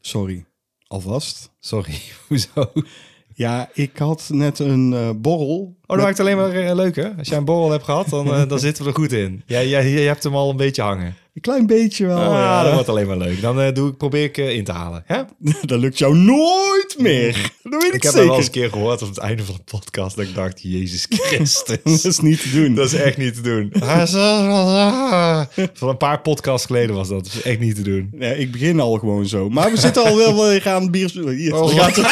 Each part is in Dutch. Sorry, alvast. Sorry, hoezo? Oh, Ja, ik had net een eh, borrel. dat maakt het alleen maar eh, leuker. Als jij een borrel hebt gehad, dan, eh, dan zitten we er goed in. Jij, jij, jij hebt hem al een beetje hangen. Een klein beetje wel. Ah, Oh, ja. dat wordt alleen maar leuk. Dan eh, doe ik, probeer ik eh, in te halen. Hè? Dat lukt jou nooit meer. Dat weet ik, Ik heb dat zeker. wel eens een keer gehoord op het einde van de podcast. Dat ik dacht, Jezus Dat Christus. is niet te doen. dat is echt niet te doen. Van een paar podcasts geleden was dat. Dat is echt niet te doen. Nee, ik begin al gewoon zo. Maar we zitten al wel weer aan bier. Hier, daar gaat het.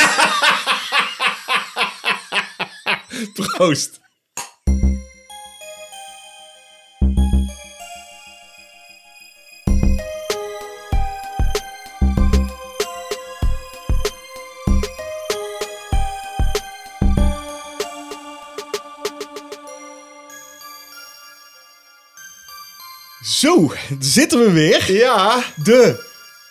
Proost. Zo, zitten we weer. Ja, De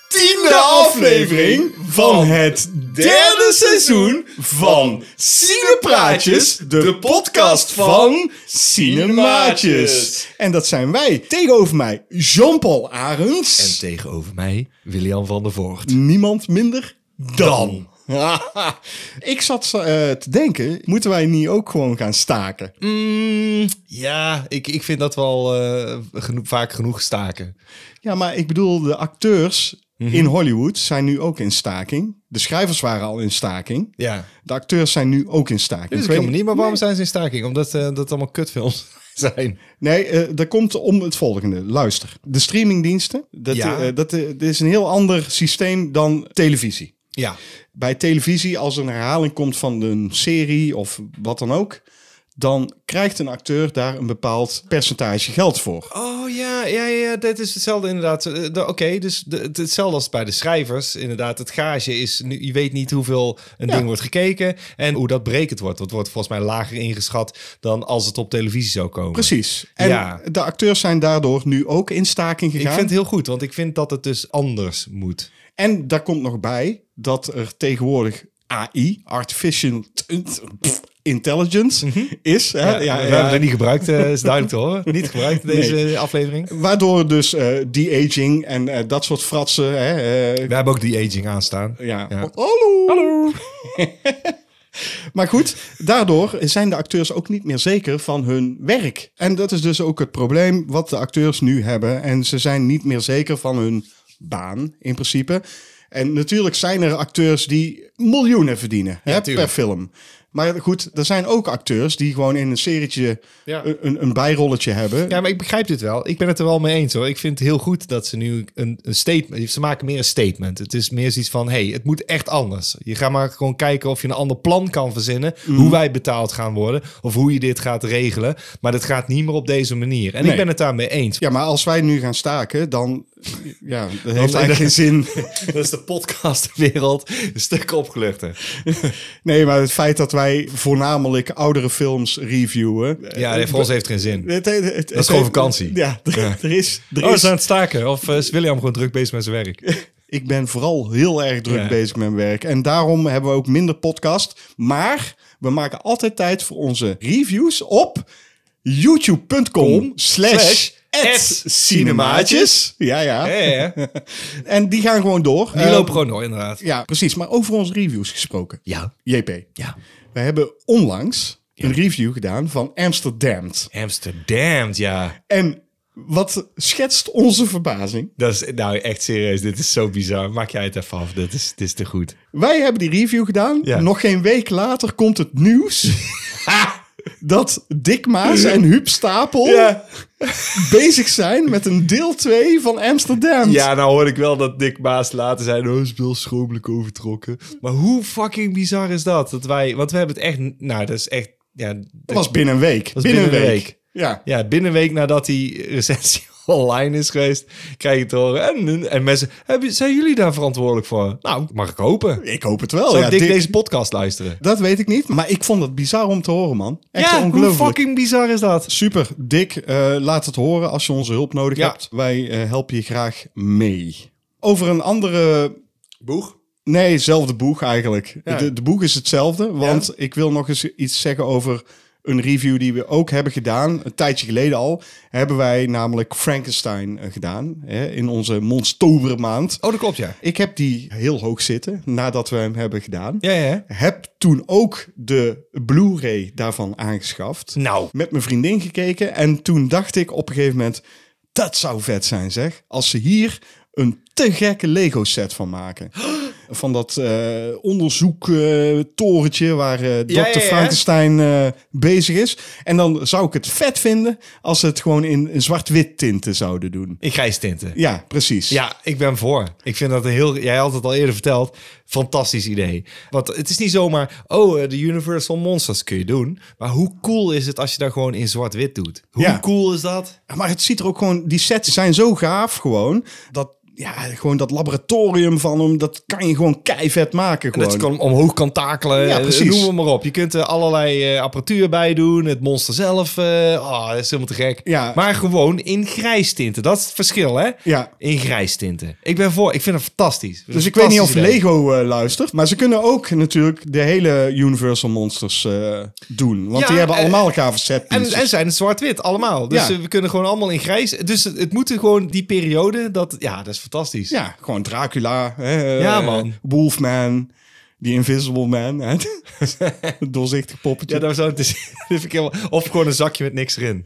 tiende aflevering van het derde seizoen van Cinepraatjes, de podcast van Cinemaatjes. En dat zijn wij. Tegenover mij Jean-Paul En Arends. tegenover mij, William van der Voort. Niemand minder dan. Ik zat eh, te denken, moeten wij niet ook gewoon gaan staken? Mm, ja, ik, ik vind dat wel eh, geno- vaak genoeg staken. Ja, maar ik bedoel, de acteurs Mhm. in Hollywood zijn nu ook in staking. De schrijvers waren al in staking. Ja. De acteurs zijn nu ook in staking. Dus ik Ik weet helemaal niet, maar waarom zijn ze in staking? Omdat eh, dat allemaal kutfilms zijn. Nee, eh, dat komt om het volgende. Luister, de streamingdiensten, dat, Ja. eh, dat, eh, dat is een heel ander systeem dan televisie. Ja. Bij televisie, als er een herhaling komt van een serie of wat dan ook, dan krijgt een acteur daar een bepaald percentage geld voor. Oh ja, ja, ja, dit is hetzelfde inderdaad. Eh, de- Oké, dus de, het- hetzelfde als bij de schrijvers. Inderdaad, het gage is, nu, je weet niet hoeveel een Ja. ding wordt gekeken en hoe dat berekend wordt. Dat wordt volgens mij lager ingeschat dan als het op televisie zou komen. Precies. En Ja. de acteurs zijn daardoor nu ook in staking Ik gegaan. vind het heel goed, want ik vind dat het dus anders moet. En daar komt nog bij dat er tegenwoordig AI, Artificial Intelligence, is. Hè? Mhm. Ja, we hebben het niet gebruikt, eh, is duidelijk te horen. Niet gebruikt in deze aflevering. Waardoor dus eh de-aging en eh, dat soort fratsen. Hè, eh, We hebben ook die aging aanstaan. ja. Ja. Hallo! maar goed, daardoor zijn de acteurs ook niet meer zeker van hun werk. En dat is dus ook het probleem wat de acteurs nu hebben. En ze zijn niet meer zeker van hun baan, in principe. En natuurlijk zijn er acteurs die miljoenen verdienen hè, per tuurlijk. film. Maar goed, er zijn ook acteurs die gewoon in een serietje Ja. een, een bijrolletje hebben. Ja, maar ik begrijp dit wel. Ik ben het er wel mee eens hoor. Ik vind het heel goed dat ze nu een, een statement. Ze maken meer een statement. Het is meer zoiets van: hé, hey, het moet echt anders. Je gaat maar gewoon kijken of je een ander plan kan verzinnen. Hoe wij betaald gaan worden. Of hoe je dit gaat regelen. Maar dat gaat niet meer op deze manier. En Nee. ik ben het daarmee eens. Ja, maar als wij nu gaan staken, dan ja, dat heeft eigenlijk geen zin. Dat is de podcastwereld een stuk opgeluchter. Nee, maar het feit dat wij voornamelijk oudere films reviewen. eh, Ja, voor ons heeft het geen zin. Het- het- het- het- gewoon vakantie. Ja, er, er is... Er Oh, ze is zijn aan het staken. Of eh, is William gewoon druk bezig met zijn werk? ik ben vooral heel erg druk Ja. bezig met mijn werk. En daarom hebben we ook minder podcast. Maar we maken altijd tijd voor onze reviews op youtube.com slash slash at cinemaatjes. Ja, ja. Ja, ja, ja. En die gaan gewoon door. Die Eh, lopen gewoon door, inderdaad. Ja, precies. Maar over onze reviews gesproken. Ja. JP. Ja. We hebben onlangs een review gedaan van Amsterdam. Amsterdam, ja. En wat schetst onze verbazing? Dat is nou echt serieus. Dit is zo bizar. Maak jij het even af. Dit is, dit is te goed. Wij hebben die review gedaan. Ja. Nog geen week later komt het nieuws dat Dick Maas en Huub Stapel bezig zijn met een deel 2 van Amsterdam. ja, nou hoor ik wel dat Dick Maas later zei... Oh, is wel schromelijk overtrokken. Maar hoe fucking bizar is dat? dat wij, want we hebben het echt... Nou, dat is echt... Ja, Dat was binnen een week. was binnen een week. Ja. ja binnen een week nadat die recensie online is geweest... krijg je het horen. En, en mensen... Hebben, zijn jullie daar verantwoordelijk voor? Nou, mag ik hopen. Ik hoop het wel. Zou Oh Ja, Dick, Dick- deze podcast luisteren? Dat weet ik niet, maar ik vond het bizar om te horen, man. Echt ja, hoe ongelooflijk. fucking bizar is dat? Super, Dick. eh, laat het horen als je onze hulp nodig Ja. hebt. Wij eh, helpen je graag mee. Over een andere... Boeg? Nee, hetzelfde boeg eigenlijk. Ja. De, de boeg is hetzelfde, want ik wil nog eens iets zeggen over een review die we ook hebben gedaan, een tijdje geleden al, hebben wij namelijk Frankenstein eh, gedaan hè, in onze monstobermaand. Oh, dat klopt, ja. Ik heb die heel hoog zitten nadat we hem hebben gedaan. Ja, ja. Heb toen ook de Blu-ray daarvan aangeschaft. Nou. Met mijn vriendin gekeken. En toen dacht ik op een gegeven moment: dat zou vet zijn, zeg. Als ze hier een te gekke Lego set van maken. Van dat eh, onderzoektorentje waar eh Dr. ja, ja. Frankenstein eh, bezig is. En dan zou ik het vet vinden als ze het gewoon in, in zwart-wit tinten zouden doen. In grijs tinten. Ja, precies. Ja, ik ben voor. Ik vind dat een heel, jij had het al eerder verteld, fantastisch idee. Want het is niet zomaar, oh, eh, de Universal Monsters kun je doen. Maar hoe cool is het als je dat gewoon in zwart-wit doet? Hoe Ja. cool is dat? Maar het ziet er ook gewoon, die sets zijn zo gaaf gewoon. Dat, ja, gewoon dat laboratorium van hem, dat kan je gewoon keivet maken. En Gewoon. dat je kan omhoog kan takelen, Ja, eh, precies. noem het maar op. Je kunt er allerlei eh, apparatuur bij doen, het monster zelf. eh oh, dat is helemaal te gek. Ja. Maar gewoon in grijs tinten, dat is het verschil hè? Ja. In grijs tinten. Ik ben voor, ik vind het fantastisch. Dus ik weet niet of leeg. Lego eh, luistert, maar ze kunnen ook natuurlijk de hele Universal Monsters eh, doen. Want Ja, die hebben eh, allemaal gave set En, pieces. en zijn het zwart-wit, allemaal. Dus Ja. eh, we kunnen gewoon allemaal in grijs. Dus het, het moet gewoon die periode, dat, ja, dat is dus- fantastisch. Ja, gewoon Dracula, hè, Ja, eh, man. Wolfman, die Invisible Man, hè? doorzichtig poppetje. Ja, dat zou het is, dat vind ik helemaal, of gewoon een zakje met niks erin.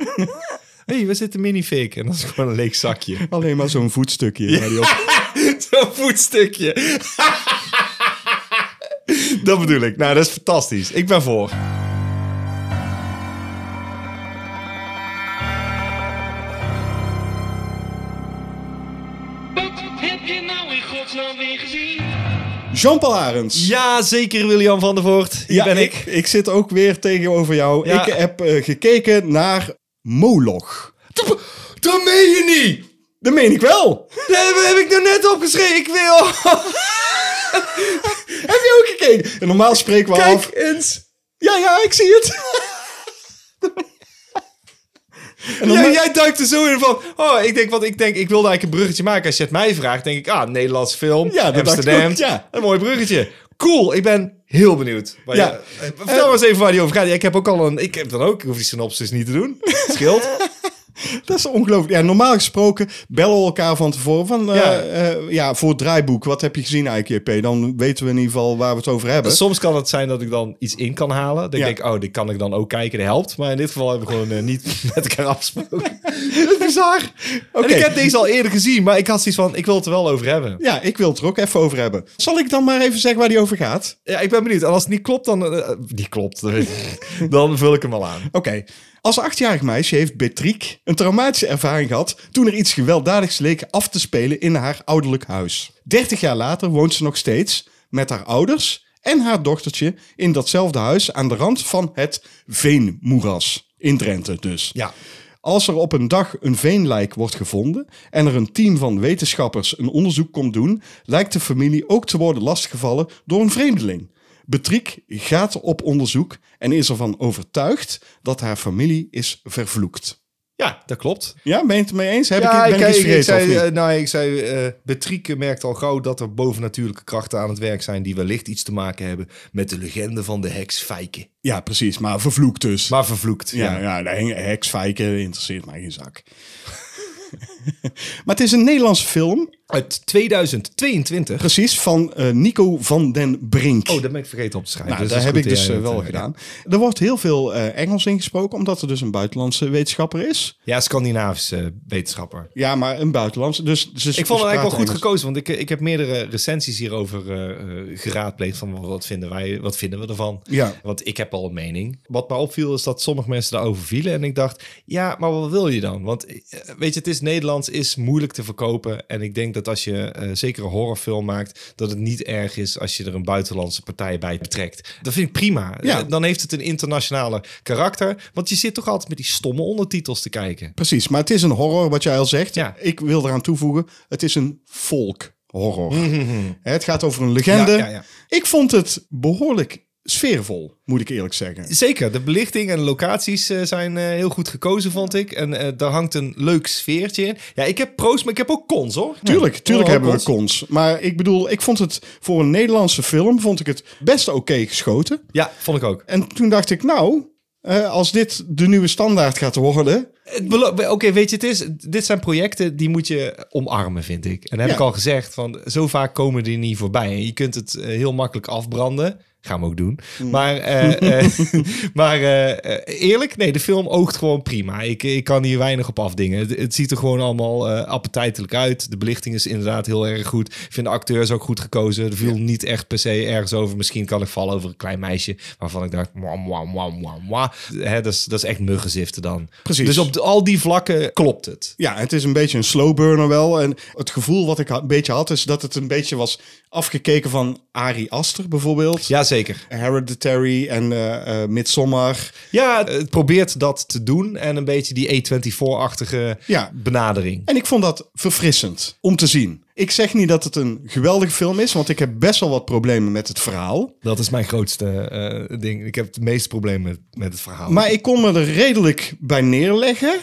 Hé, hey, waar zit de minifake? En dat is gewoon een leeg zakje. Alleen maar zo'n voetstukje. waar die op- Zo'n voetstukje. dat bedoel ik. Nou, dat is fantastisch. Ik ben voor. Wat heb je nou in godsnaam weer gezien? Jean-Paul Arends. Ja, zeker William van der Voort. Hier Ja, ben ik. ik. ik zit ook weer tegenover jou. Ja. Ik heb eh, gekeken naar Moloch. Dat meen je niet! Dat meen ik wel. Dat heb ik nou net opgeschreven. Ik wil... heb je ook gekeken? En normaal spreken we af. Oh, eens. Ja, ja, ik zie het. en dan Ja, jij duikt er zo in van. Oh, ik denk, want ik denk, ik wilde eigenlijk een bruggetje maken. Als je het mij vraagt, denk ik, ah, Nederlands film. Ja, dat dacht ik Amsterdam. ook, ja. Een mooi bruggetje. Cool, ik ben heel benieuwd. waar Ja. je- eh, vertel maar eens even waar die over gaat. Ja, Ik heb ook al een. Ik heb dan ook. Ik hoef die synopsis niet te doen. Scheelt. Dat is ongelooflijk. Ja, normaal gesproken bellen we elkaar van tevoren van... eh, Ja. eh, ja, voor het draaiboek. Wat heb je gezien eigenlijk, JP? Dan weten we in ieder geval waar we het over hebben. Soms kan het zijn dat ik dan iets in kan halen. Dat Ja. ik denk, oh, dit kan ik dan ook kijken. Dat helpt. Maar in dit geval hebben we gewoon eh, niet met elkaar afgesproken. dat is bizar. Oké. En ik heb deze al eerder gezien, maar ik had zoiets van, ik wil het er wel over hebben. Ja, ik wil het er ook even over hebben. Zal ik dan maar even zeggen waar die over gaat? Ja, ik ben benieuwd. En als het niet klopt, dan... eh, eh, niet klopt, dat weet ik. dan vul ik hem al aan. Oké. Als achtjarig meisje heeft Betriek een traumatische ervaring gehad toen er iets gewelddadigs leek af te spelen in haar ouderlijk huis. Dertig jaar later woont ze nog steeds met haar ouders en haar dochtertje in datzelfde huis aan de rand van het Veenmoeras. In Drenthe dus. Ja. Als er op een dag een veenlijk wordt gevonden en er een team van wetenschappers een onderzoek komt doen, lijkt de familie ook te worden lastgevallen door een vreemdeling. Betriek gaat op onderzoek en is ervan overtuigd dat haar familie is vervloekt. Ja, dat klopt. Ja, ben je het ermee eens? Heb ik, ben ik, eh, iets vergeten of niet? nou, ik zei, eh, Betrieke merkt al gauw dat er bovennatuurlijke krachten aan het werk zijn... die wellicht iets te maken hebben met de legende van de heks Fijke. ja, precies. Maar vervloekt dus. Maar vervloekt. ja, ja, de heng- heks, feiken, interesseert mij geen zak. maar het is een Nederlandse film, Uit 2022. precies, van eh, Nico van den Brink. Oh, dat ben ik vergeten op te schrijven. Nou, Dus dat, is heb goed ik dat dus jij eh, dat, wel eh, gedaan. Er wordt heel veel eh, Engels ingesproken, omdat er dus een buitenlandse wetenschapper is. Ja, Scandinavische wetenschapper. Ja, maar een buitenlandse. Dus, dus Ik vond het eigenlijk wel goed gekozen, want ik, ik heb meerdere recensies hierover eh, eh, geraadpleegd. Van wat vinden wij, wat vinden we ervan? Ja. Want ik heb al een mening. Wat mij opviel is dat sommige mensen daarover vielen. En ik dacht, ja, maar wat wil je dan? Want eh, weet je, het is Nederlands, is moeilijk te verkopen. En ik denk dat als je eh, zeker een horrorfilm maakt, dat het niet erg is als je er een buitenlandse partij bij betrekt. Dat vind ik prima. Ja. Eh, Dan heeft het een internationale karakter. Want je zit toch altijd met die stomme ondertitels te kijken. Precies, maar het is een horror, wat jij al zegt. Ja. Ik wil eraan toevoegen, het is een folkhorror. Hè, Het gaat over een legende. Mhm, Ja, ja, ja. Ik vond het behoorlijk sfeervol, moet ik eerlijk zeggen. Zeker, de belichting en de locaties eh, zijn eh, heel goed gekozen, vond ik. En eh, daar hangt een leuk sfeertje in. Ja, ik heb pro's, maar ik heb ook cons, hoor. Tuurlijk, Ja. tuurlijk Oh, hebben we cons. Maar ik bedoel, ik vond het voor een Nederlandse film vond ik het best oké geschoten. Ja, vond ik ook. En toen dacht ik, nou, eh, als dit de nieuwe standaard gaat worden. Het belo- Oké, weet je, het is, dit zijn projecten die moet je omarmen, vind ik. En dat heb Ja. ik al gezegd, van, zo vaak komen die niet voorbij. En je kunt het eh, heel makkelijk afbranden. Gaan we ook doen. Mm. Maar, eh, eh, maar eh, eh, eerlijk, nee, de film oogt gewoon prima. Ik, ik kan hier weinig op afdingen. Het, het ziet er gewoon allemaal eh, appetijtelijk uit. De belichting is inderdaad heel erg goed. Ik vind de acteurs ook goed gekozen. Er viel niet echt per se ergens over. Misschien kan ik vallen over een klein meisje waarvan ik dacht... Mwah, mwah, mwah, mwah, mwah. Hè, dat, is, dat is echt muggenziften dan. Precies. Dus op de- al die vlakken klopt het. Ja, het is een beetje een slow burner wel. En het gevoel wat ik ha- een beetje had, is dat het een beetje was afgekeken van Ari Aster bijvoorbeeld. Jazeker. Hereditary en eh eh Midsommar. Ja, Eh, het probeert dat te doen. En een beetje die A24-achtige Ja. benadering. En ik vond dat verfrissend om te zien. Ik zeg niet dat het een geweldige film is, want ik heb best wel wat problemen met het verhaal. Dat is mijn grootste eh, ding. Ik heb het meeste probleem met, met het verhaal. Maar ik kon me er redelijk bij neerleggen.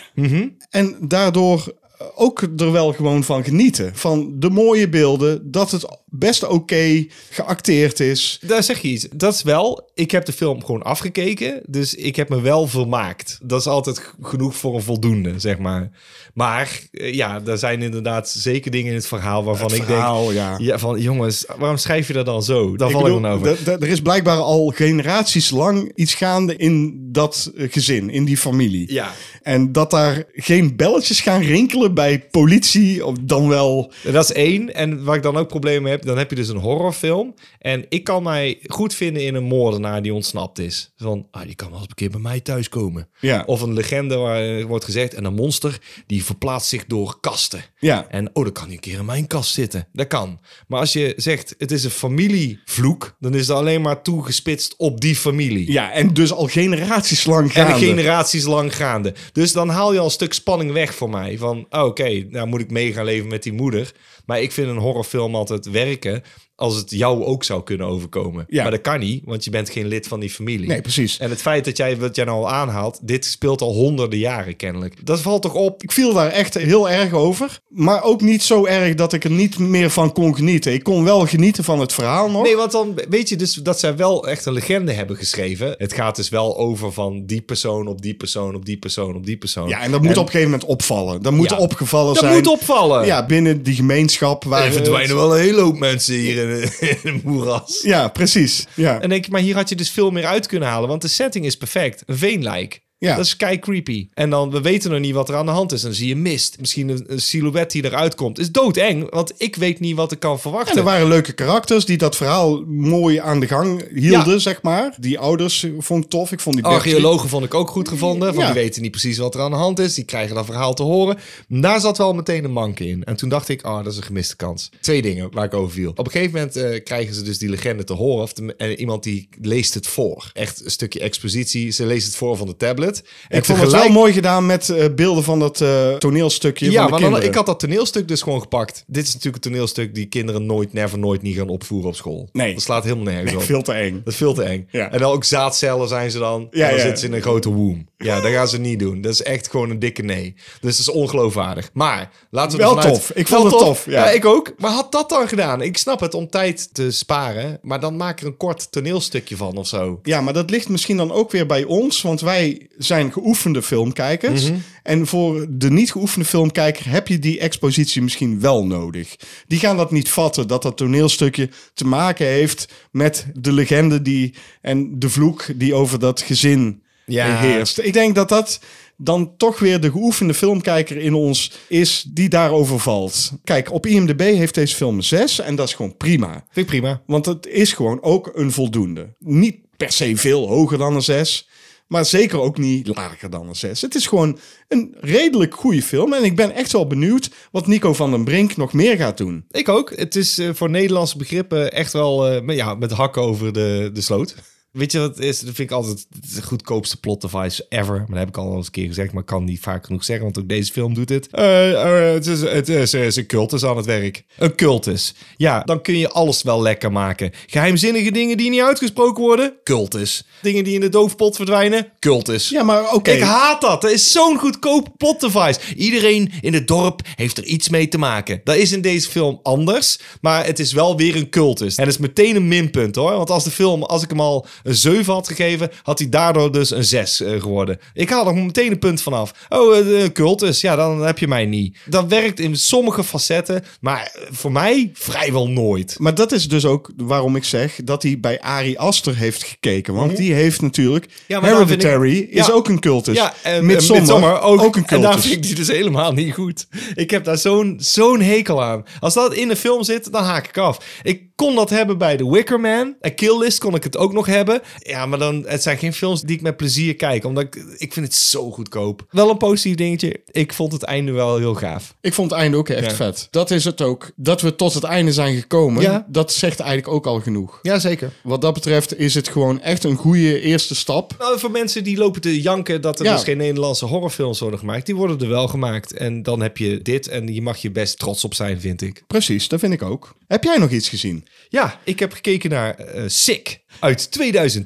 En daardoor eh, ook er wel gewoon van genieten. Van de mooie beelden, dat het best oké geacteerd is. Daar zeg je iets. Dat is wel, ik heb de film gewoon afgekeken. Dus ik heb me wel vermaakt. Dat is altijd g- genoeg voor een voldoende, zeg maar. Maar eh, ja, er zijn inderdaad zeker dingen in het verhaal waarvan ik verhaal, denk... ja. van jongens, waarom schrijf je dat dan zo? Daar Ik val bedoel, ik dan over. d- d- Er is blijkbaar al generaties lang iets gaande in dat eh, gezin, in die familie. Ja. En dat daar geen belletjes gaan rinkelen bij politie, of dan wel... Dat is één. En waar ik dan ook problemen mee heb, dan heb je dus een horrorfilm. En ik kan mij goed vinden in een moordenaar die ontsnapt is. Van, ah, die kan wel eens een keer bij mij thuiskomen. Ja. Of een legende waar eh, wordt gezegd, en een monster, die verplaatst zich door kasten. Ja. En, oh, dan kan hij een keer in mijn kast zitten. Dat kan. Maar als je zegt, het is een familievloek, dan is dat alleen maar toegespitst op die familie. Ja, en dus al generaties lang En gaande. generaties lang gaande. Dus dan haal je al een stuk spanning weg voor mij. Van, oh, oké, nou moet ik mee gaan leven met die moeder. Maar ik vind een horrorfilm altijd werken als het jou ook zou kunnen overkomen. Ja. Maar dat kan niet, want je bent geen lid van die familie. Nee, precies. En het feit dat jij, wat jij nou al aanhaalt, dit speelt al honderden jaren kennelijk. Dat valt toch op? Ik viel daar echt heel erg over. Maar ook niet zo erg dat ik er niet meer van kon genieten. Ik kon wel genieten van het verhaal nog. Nee, want dan weet je dus dat zij wel echt een legende hebben geschreven. Het gaat dus wel over van die persoon op die persoon op die persoon op die persoon. Ja, en dat moet op een gegeven moment opvallen. Dat moet Ja. opgevallen Dat zijn. moet opvallen. Ja, binnen die gemeenschap. Waar eh, Er verdwijnen wel een hele hoop mensen hier in, de- in het moeras. Ja, precies. Ja. En denk ik, maar hier had je dus veel meer uit kunnen halen. Want de setting is perfect. Een veenlijk. Ja. Dat is kei creepy. En dan, we weten nog niet wat er aan de hand is. Dan zie je mist. Misschien een, een silhouet die eruit komt. Is doodeng, want ik weet niet wat ik kan En verwachten. er waren leuke karakters die dat verhaal mooi aan de gang hielden, zeg maar. Die ouders eh, vond ik tof. Ik vond die Bertie- Archeologen vond ik ook goed gevonden. Want Ja. die weten niet precies wat er aan de hand is. Die krijgen dat verhaal te horen. Daar zat wel meteen een manke in. En toen dacht ik, ah, dat is een gemiste kans. Twee dingen waar ik over viel. Op een gegeven moment eh, krijgen ze dus die legende te horen. Of de- en iemand die leest het voor. Echt een stukje expositie. Ze leest het voor van de tablet. En Ik vond het wel mooi gedaan met eh, beelden van dat eh, toneelstukje Ja, van de maar dan, kinderen. ik had dat toneelstuk dus gewoon gepakt. Dit is natuurlijk een toneelstuk die kinderen nooit, never, nooit niet gaan opvoeren op school. Nee. Dat slaat helemaal nergens op. Veel te eng. Dat is veel te eng. Ja. En dan ook zaadcellen zijn ze dan. Ja, en dan ja. zitten ze in een grote womb. Ja, dat gaan ze niet doen. Dat is echt gewoon een dikke nee. Dus dat is ongeloofwaardig. Maar laten we Wel ervan uit- tof. Ik Wel vond het tof, ja. ik ook. Maar had dat dan gedaan? Ik snap het om tijd te sparen. Maar dan maak er een kort toneelstukje van of zo. Ja, maar dat ligt misschien dan ook weer bij ons, want wij zijn geoefende filmkijkers. En voor de niet geoefende filmkijker heb je die expositie misschien wel nodig. Die gaan dat niet vatten, dat dat toneelstukje te maken heeft met de legende die, en de vloek die over dat gezin Ja. heerst. Ik denk dat dat dan toch weer de geoefende filmkijker in ons is die daarover valt. Kijk, op IMDb heeft deze film een 6 en dat is gewoon prima. Vind ik prima. Want het is gewoon ook een voldoende. Niet per se veel hoger dan een 6. Maar zeker ook niet lager dan een 6. Het is gewoon een redelijk goede film. En ik ben echt wel benieuwd wat Nico van den Brink nog meer gaat doen. Ik ook. Het is eh, voor Nederlandse begrippen echt wel eh, met, ja, met hakken over de, de sloot. Weet je wat het is? Dat vind ik altijd de goedkoopste plot device ever. Maar dat heb ik al eens een keer gezegd, maar ik kan niet vaak genoeg zeggen, want ook deze film doet dit. Eh, eh, het, is, het, is, het is een cultus aan het werk. Een cultus. Ja, dan kun je alles wel lekker maken. Geheimzinnige dingen die niet uitgesproken worden? Cultus. Dingen die in de doofpot verdwijnen? Cultus. Ja, maar oké. Ik haat dat. Dat is zo'n goedkoop plot device. Iedereen in het dorp heeft er iets mee te maken. Dat is in deze film anders, maar het is wel weer een cultus. En dat is meteen een minpunt hoor. Want als de film, als ik hem al een 7 had gegeven, had hij daardoor dus een 6 eh, geworden. Ik haal er meteen een punt vanaf. Oh, eh, de cultus, ja, dan heb je mij niet. Dat werkt in sommige facetten, maar eh, voor mij vrijwel nooit. Maar dat is dus ook waarom ik zeg dat hij bij Ari Aster heeft gekeken. Want die heeft natuurlijk... Mhm. Ja, maar daar vind ik- Hereditary is Ja. ook een cultus. ja, en eh, Midsommar, ook, een En daar cultus. vind ik die dus helemaal niet goed. Ik heb daar zo'n zo'n hekel aan. Als dat in de film zit, dan haak ik af. Ik kon dat hebben bij The Wicker Man. En Kill List kon ik het ook nog hebben. Ja, maar dan, het zijn geen films die ik met plezier kijk. Omdat ik, ik vind het zo goedkoop. Wel een positief dingetje. Ik vond het einde wel heel gaaf. Ik vond het einde ook echt Ja. vet. Dat is het ook. Dat we tot het einde zijn gekomen, Ja. dat zegt eigenlijk ook al genoeg. Jazeker. Wat dat betreft is het gewoon echt een goede eerste stap. Nou, voor mensen die lopen te janken dat er Ja. dus geen Nederlandse horrorfilms worden gemaakt. Die worden er wel gemaakt. En dan heb je dit. En je mag je best trots op zijn, vind ik. Precies, dat vind ik ook. Heb jij nog iets gezien? Ja, ik heb gekeken naar eh, Sick uit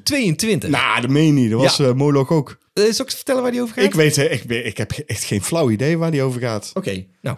2022. Nou, Nou, dat meen je niet. Dat was Ja. eh, Moloch ook. zal ik eens vertellen waar die over gaat? Ik weet, hè, ik, weet- ik heb echt geen flauw idee waar die over gaat. Oké, nou.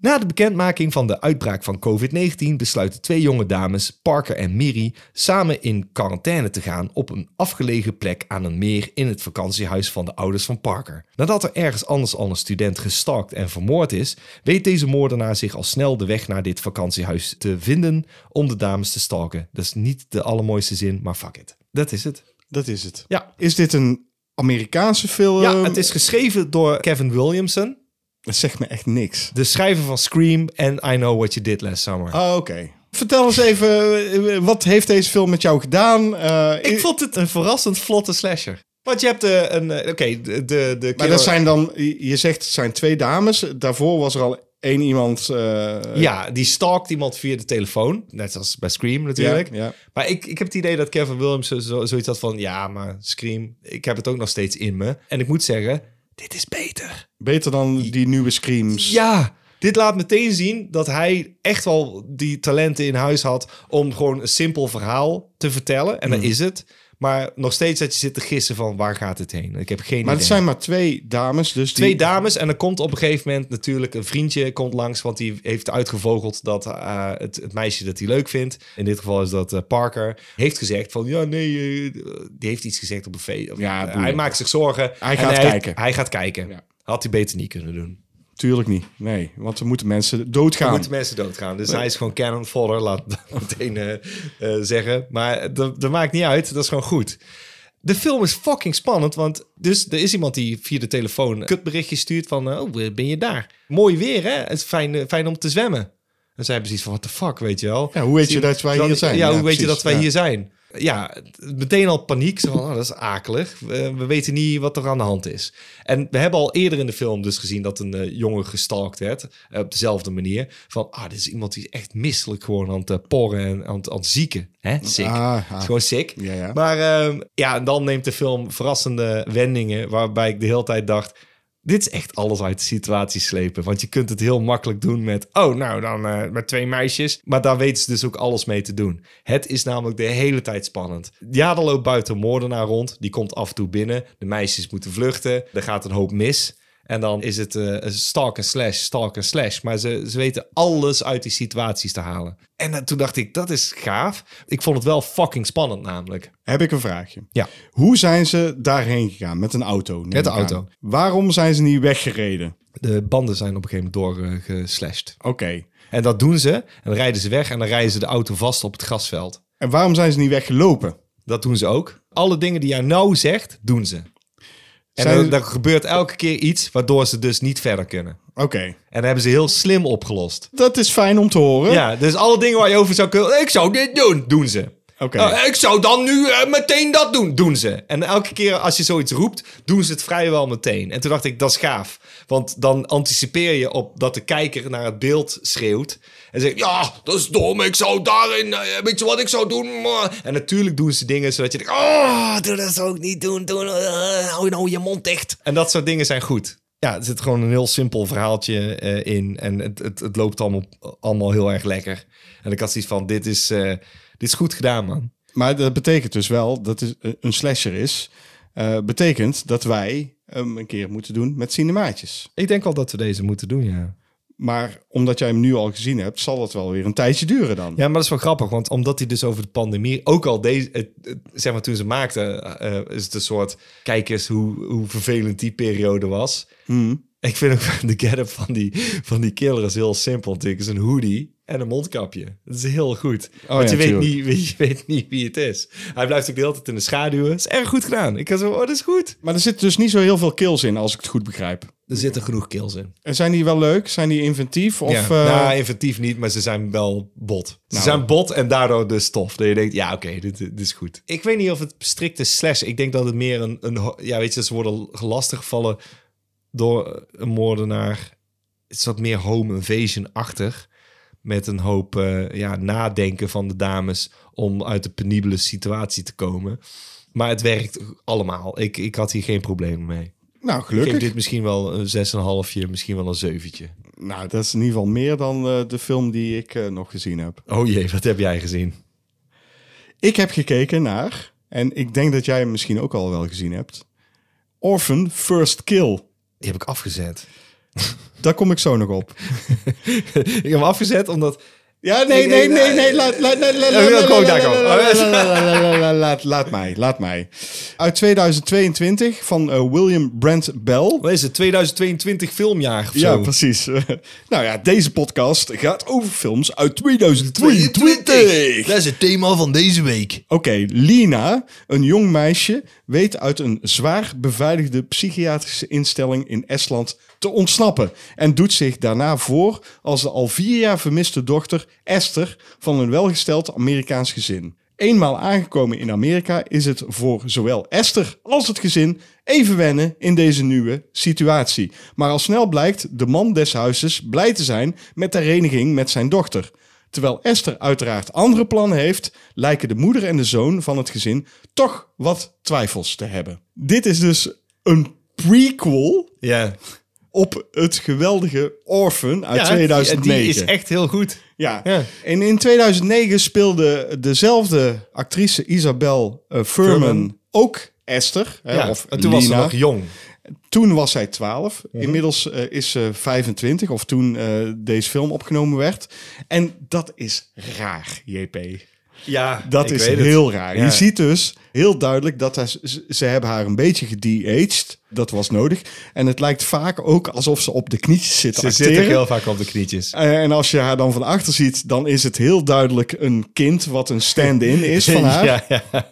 Na de bekendmaking van de uitbraak van COVID-19 besluiten twee jonge dames, Parker en Miri, samen in quarantaine te gaan op een afgelegen plek aan een meer in het vakantiehuis van de ouders van Parker. Nadat er ergens anders al een student gestalkt en vermoord is, weet deze moordenaar zich al snel de weg naar dit vakantiehuis te vinden om de dames te stalken. Dat is niet de allermooiste zin, maar fuck it. Dat is het. Dat is het. Ja. Is dit een Amerikaanse film? Ja, het is geschreven door Kevin Williamson, Dat zegt me echt niks. de schrijver van Scream en I Know What You Did Last Summer. Ah, oké. Vertel eens even, eh, wat heeft deze film met jou gedaan? Eh, ik vond het een verrassend vlotte slasher. Want je hebt eh, een... eh, Oké, de, de, de Maar killer- dat zijn dan, je je zegt het zijn twee dames. Daarvoor was er al één iemand. eh, Ja, die stalkt iemand via de telefoon. Net als bij Scream natuurlijk. Ja, ja. Maar ik, ik heb het idee dat Kevin Williams zo, zo- zoiets had van... Ja, maar Scream, ik heb het ook nog steeds in me. En ik moet zeggen, dit is beter. Beter dan die nieuwe Screams. Ja, dit laat meteen zien dat hij echt wel die talenten in huis had om gewoon een simpel verhaal te vertellen. En Hmm. dat is het. Maar nog steeds dat je zit te gissen van waar gaat het heen. Ik heb geen Maar het idee. zijn maar twee dames. Dus Twee die, dames en er komt op een gegeven moment natuurlijk een vriendje komt langs, want die heeft uitgevogeld dat eh, het, het meisje dat hij leuk vindt, in dit geval is dat eh, Parker, heeft gezegd van ja nee, eh, die heeft iets gezegd op een feest. Ja, Eh, hij boeien. maakt zich zorgen. Hij En gaat kijken. Hij gaat kijken. Ja. Had hij beter niet kunnen doen. Tuurlijk niet. Nee, want er moeten mensen Er doodgaan. moeten mensen doodgaan. Dus hij is gewoon cannon fodder, laat ik dat meteen eh, eh, zeggen. Maar dat, dat maakt niet uit, dat is gewoon goed. De film is fucking spannend, want dus er is iemand die via de telefoon een kutberichtje stuurt van... eh, Oh, ben je daar? Mooi weer, hè? Het is fijn, eh, fijn om te zwemmen. En zij hebben zoiets van, what the fuck, weet je wel? Ja, hoe weet Dus je die- dat wij dan- hier zijn? Ja, Ja, hoe weet je precies, dat wij ja. hier zijn? Ja, meteen al paniek. Zo van, oh, dat is akelig. We, we weten niet wat er aan de hand is. En we hebben al eerder in de film dus gezien dat een eh, jongen gestalkt werd. eh, op dezelfde manier. Van, ah, dit is iemand die is echt misselijk gewoon aan het eh, porren en aan het, aan het zieken. Hè? Sick. Ah, Het ah. is gewoon sick. Ja, ja. Maar ehm, ja, en dan neemt de film verrassende wendingen. Waarbij ik de hele tijd dacht. Dit is echt alles uit de situatie slepen. Want je kunt het heel makkelijk doen met. Oh, nou dan eh, met twee meisjes. Maar daar weten ze dus ook alles mee te doen. Het is namelijk de hele tijd spannend. Ja, er loopt buiten een moordenaar rond. Die komt af en toe binnen. De meisjes moeten vluchten. Er gaat een hoop mis. En dan is het eh, een stalk en slash, stalk en slash. Maar ze, ze weten alles uit die situaties te halen. En eh, toen dacht ik, dat is gaaf. Ik vond het wel fucking spannend namelijk. Heb ik een vraagje. Ja. Hoe zijn ze daarheen gegaan? Met een auto. neem Met de ik aan. auto. Waarom zijn ze niet weggereden? De banden zijn op een gegeven moment doorgeslashed. Oké. en dat doen ze. En dan rijden ze weg en dan rijden ze de auto vast op het grasveld. En waarom zijn ze niet weggelopen? Dat doen ze ook. Alle dingen die jij nou zegt, doen ze. En Zijn- dan, dan gebeurt elke keer iets waardoor ze dus niet verder kunnen. Oké. En dat hebben ze heel slim opgelost. Dat is fijn om te horen. Ja, dus alle dingen waar je over zou kunnen... Ik zou dit doen, doen ze. Oké. Eh, ik zou dan nu eh, meteen dat doen, doen ze. En elke keer als je zoiets roept, doen ze het vrijwel meteen. En toen dacht ik, dat is gaaf. Want dan anticipeer je op dat de kijker naar het beeld schreeuwt. En zegt, ja, dat is dom, ik zou daarin, eh, weet je wat ik zou doen? Maar- En natuurlijk doen ze dingen zodat je denkt, oh, doe dat zou ik niet doen, doe, eh, hou nou je mond dicht. En dat soort dingen zijn goed. Ja, er zit gewoon een heel simpel verhaaltje eh, in. En het, het, het loopt allemaal, allemaal heel erg lekker. En ik had zoiets van, dit is, eh, dit is goed gedaan, man. Maar dat betekent dus wel dat het een slasher is. Eh, betekent dat wij hem een keer moeten doen met cinemaatjes. Ik denk wel dat we deze moeten doen, ja. Maar omdat jij hem nu al gezien hebt, zal het wel weer een tijdje duren dan. Ja, maar dat is wel grappig, want omdat hij dus over de pandemie, ook al deze, het, het- zeg maar toen ze maakten, eh, is het een soort, kijk eens hoe, hoe vervelend die periode was. Ik vind ook de get-up van die, van die killer is heel simpel natuurlijk. Het is een hoodie en een mondkapje. Dat is heel goed. want ja, je, weet tuurlijk. niet, je weet niet wie het is. Hij blijft ook de hele tijd in de schaduwen. is erg goed gedaan. Ik kan zo, oh, dat is goed. Maar er zitten dus niet zo heel veel kills in, als ik het goed begrijp. Er zitten genoeg kills in. En zijn die wel leuk? Zijn die inventief? Of, ja. eh, nou, inventief niet, maar ze zijn wel bot. Ze Nou. zijn bot en daardoor dus tof. Dat je denkt, ja, oké, dit, dit is goed. Ik weet niet of het strikt is slash. Ik denk dat het meer een... een ho- ja, weet je, ze worden lastiggevallen door een moordenaar. Het is wat meer home invasion-achtig. Met een hoop eh, ja, nadenken van de dames om uit de penibele situatie te komen. Maar het werkt allemaal. Ik, ik had hier geen problemen mee. nou, Ik geef gelukkig. dit misschien wel een 6,5, misschien wel een zeventje. Nou, dat is in ieder geval meer dan eh, de film die ik eh, nog gezien heb. Oh jee, wat heb jij gezien? Ik heb gekeken naar, en ik denk dat jij hem misschien ook al wel gezien hebt, Orphan First Kill. Die heb ik afgezet. Daar kom ik zo nog op. ik heb hem afgezet omdat... Ja, nee, Ik- nee, ik- nee, nee, laat, laat, laat, laat, laat, Oh, dan kom ik daar laat, komen. laat, Oh, laat, laat, laat, laat, laat, laat mij, laat mij. Uit 2022 van eh, William Brent Bell. Wat is het? 2022 filmjaar of Ja, zo? precies. nou ja, deze podcast gaat over films uit 2022. Dat is het thema van deze week. Oké, Lina, een jong meisje, weet uit een zwaar beveiligde psychiatrische instelling in Estland te ontsnappen. En doet zich daarna voor als de al vier jaar vermiste dochter Esther van een welgesteld Amerikaans gezin. Eenmaal aangekomen in Amerika is het voor zowel Esther als het gezin even wennen in deze nieuwe situatie. Maar al snel blijkt de man des huizes blij te zijn met de hereniging met zijn dochter. Terwijl Esther uiteraard andere plannen heeft, lijken de moeder en de zoon van het gezin toch wat twijfels te hebben. Dit is dus een prequel Ja. op het geweldige Orphan uit Ja, die- 2009. Die is echt heel goed. ja. Ja. En in 2009 speelde dezelfde actrice Isabel eh, Furman, Furman. ook Esther. hè, Ja, of en toen was ze Lina. nog jong. Toen was zij 12. Inmiddels eh, is ze 25, of toen eh, deze film opgenomen werd. En dat is raar, JP. Ja, Dat ik is weet het. heel raar. Ja. Je ziet dus heel duidelijk dat hij- ze, ze hebben haar een beetje gedeaged. Dat was nodig. En het lijkt vaak ook alsof ze op de knietjes zit te Ze acteren. zit ook heel vaak op de knietjes. Eh, En als je haar dan van achter ziet, dan is het heel duidelijk een kind wat een stand-in is van haar. Ja, ja.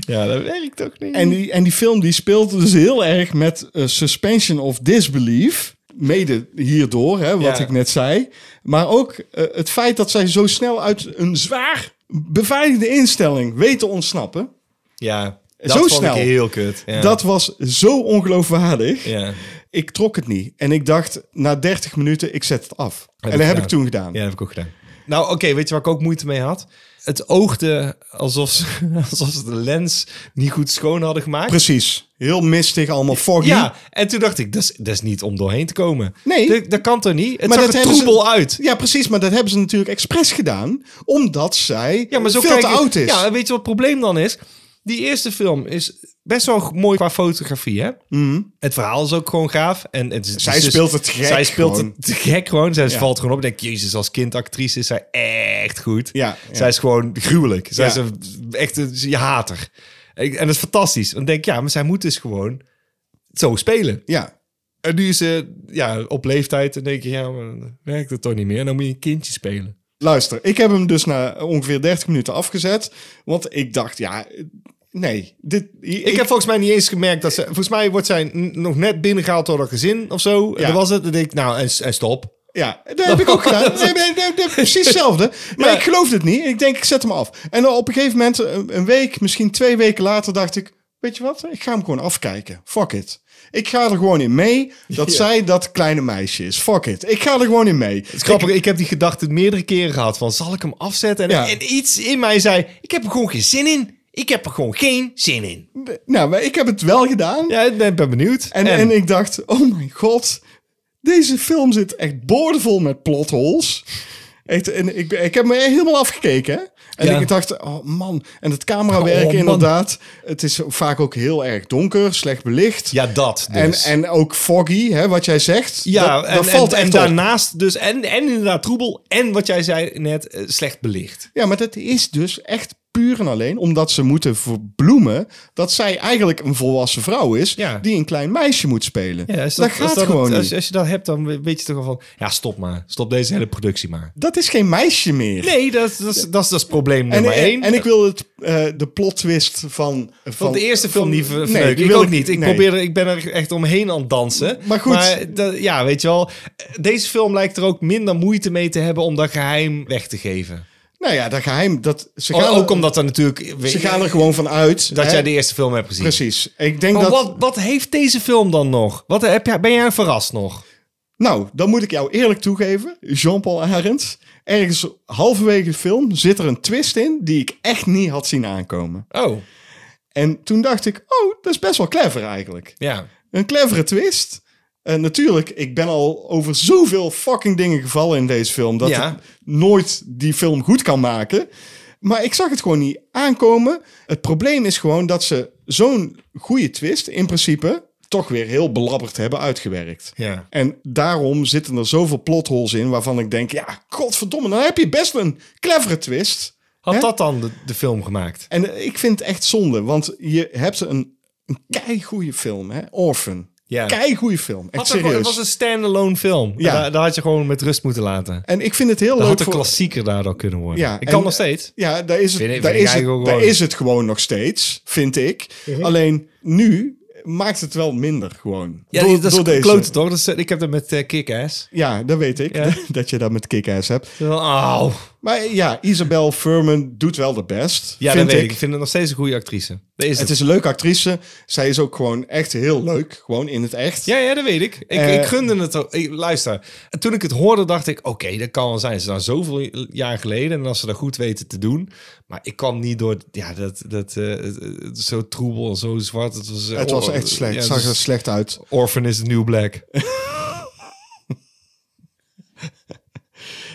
ja, dat werkt ook niet. En, die, en die film die speelt dus heel erg met eh, suspension of disbelief. Mede hierdoor, hè, wat Ja. ik net zei. Maar ook eh, het feit dat zij zo snel uit een zwaar beveiligde instelling weet te ontsnappen. ja, dat Zo vond snel. ik heel kut. Ja. Dat was zo ongeloofwaardig. ja. Ik trok het niet. En ik dacht, na 30 minuten, ik zet het af. en ik dat heb ik gedaan. toen gedaan. Ja, dat heb ik ook gedaan. Nou, oké, weet je waar ik ook moeite mee had? Het oogde alsof ze, alsof ze de lens niet goed schoon hadden gemaakt. Precies. Heel mistig, allemaal foggy. Ja, en toen dacht ik, dat is, dat is niet om doorheen te komen. Nee. Dat, dat kan toch niet? Het Maar zag dat er hebben ze- troebel uit. Ja, precies. Maar dat hebben ze natuurlijk expres gedaan. Omdat zij Ja, maar zo veel kijk te ik- oud is. Ja, en weet je wat het probleem dan is? Die eerste film is best wel mooi qua fotografie, hè? Het verhaal is ook gewoon gaaf. En het, is- Mhm. Zij het is speelt het gek Zij speelt gewoon. het te gek gewoon. Zij Ja. valt gewoon op. Ik denk, jezus, als kindactrice is zij echt goed. Ja, ja. Zij is gewoon gruwelijk. Zij Ja. is een, echt een je hater. Ik- En dat is fantastisch. Want ik denk, ja, maar zij moet dus gewoon zo spelen. ja. En nu is ze ja, op leeftijd en denk je, ja, maar dan werkt het toch niet meer. En dan moet je een kindje spelen. Luister, ik heb hem dus na ongeveer 30 minuten afgezet. Want ik dacht, ja, nee. Dit, Ik, heb volgens mij niet eens gemerkt dat ze... Volgens mij wordt zij n- nog net binnengehaald door haar gezin of zo. Ja. En dat was het. Dan denk ik, nou, en, en stop. Ja, dat heb ik ook gedaan. Nee, nee, nee, nee, precies hetzelfde. Maar Ja. ik geloofde het niet. Ik denk, ik zet hem af. En dan op een gegeven moment, een een week, misschien twee weken later, dacht ik... Weet je wat? Ik ga hem gewoon afkijken. Fuck it. Ik ga er gewoon in mee dat Ja. zij dat kleine meisje is. Fuck it. Ik ga er gewoon in mee. Het is grappig, ik, heb die gedachte meerdere keren gehad van, zal ik hem afzetten? En, Ja. en iets in mij zei, ik heb er gewoon geen zin in. Ik heb er gewoon geen zin in. Nou, maar ik heb het wel gedaan. Ja, ik ben ben benieuwd. En, en? ik dacht, oh mijn god, deze film zit echt boordevol met plotholes. Echt, en ik, ben- ik heb me helemaal afgekeken. hè. En Ja. ik dacht, oh man. En het camerawerk Oh, man. inderdaad. Het is vaak ook heel erg donker, slecht belicht. Ja, dat dus. En, en ook foggy, hè, wat jij zegt. ja, dat, en, dat en- valt en, echt op. daarnaast dus, en, en inderdaad troebel, en wat jij zei net, eh, slecht belicht. Ja, maar dat is dus echt puur en alleen omdat ze moeten verbloemen dat zij eigenlijk een volwassen vrouw is Ja. die een klein meisje moet spelen. Ja, dat, als als gaat gewoon als, niet. Als, je dat hebt, dan weet je toch al van... Ja, stop maar. Stop deze hele productie maar. dat is geen meisje meer. Nee, dat, is- dat, is- dat, is- dat is probleem En, nummer één. en, en ik wil het, eh, de plot twist van, van de eerste film van- niet ver- Nee, verneuken. die ik wil ook ik- niet. Ik, nee. probeer er, ik ben er echt omheen aan het dansen. Maar goed. dat- ja, weet je wel. Deze film lijkt er ook minder moeite mee te hebben om dat geheim weg te geven. Nou ja, dat geheim. Dat, ze O- gaan, Oh, ook omdat er natuurlijk... ze gaan er gewoon van uit. dat hè? jij de eerste film hebt gezien. Precies. Ik denk Maar dat... wat, wat heeft deze film dan nog? Wat heb jij, ben jij verrast nog? Nou, dan moet ik jou eerlijk toegeven, Jean-Paul Arends. Ergens halverwege de film zit er een twist in die ik echt niet had zien aankomen. Oh, En toen dacht ik, oh, dat is best wel clever eigenlijk. ja. Een clevere twist. En natuurlijk, ik ben al over zoveel fucking dingen gevallen in deze film... dat Ja. ik nooit die film goed kan maken. Maar ik zag het gewoon niet aankomen. Het probleem is gewoon dat ze zo'n goede twist in principe... toch weer heel belabberd hebben uitgewerkt. Ja. En daarom zitten er zoveel plotholes in waarvan ik denk... ja, godverdomme, dan heb je best een clevere twist. Had Hè? dat dan de, de film gemaakt? En eh, ik vind het echt zonde, want je hebt een, een keigoede film, hè? Orphan. Ja. Keigoede film, echt Had er gewoon- serieus. het was een standalone film. Ja. Daar, daar had je gewoon met rust moeten laten. En ik vind het heel Dat leuk had een voor... klassieker daardoor kunnen worden. Ja, ik kan en- nog steeds. Ja, daar is het, Vind ik- daar vind is ik het, eigenlijk daar ook gewoon- Mhm. is het gewoon nog steeds, vind ik. Alleen nu maakt het wel minder gewoon. Ja, Door- dat door is deze. klote toch? Dat is, eh, ik heb dat met eh, Kick-Ass. Ja, dat weet ik, Ja. dat je dat met kick-ass hebt. Auw. Maar ja, Isabel Furman doet wel de best, Ja, vind dat weet ik. ik. Ik vind het nog steeds een goede actrice. Dat is Het het. is een leuke actrice. Zij is ook gewoon echt heel leuk, gewoon in het echt. Ja, ja, dat weet ik. Ik, Eh, ik gunde het ook. Ik, luister, toen ik het hoorde dacht ik... Oké, dat kan wel zijn. Ze zijn zoveel jaar geleden. En als ze dat goed weten te doen. Maar ik kwam niet door... Ja, dat... dat eh, het- het- zo troebel, zo zwart. Het was, eh, Het was or- echt slecht, ja, dus- het zag er was- slecht uit. Orphan is the new black.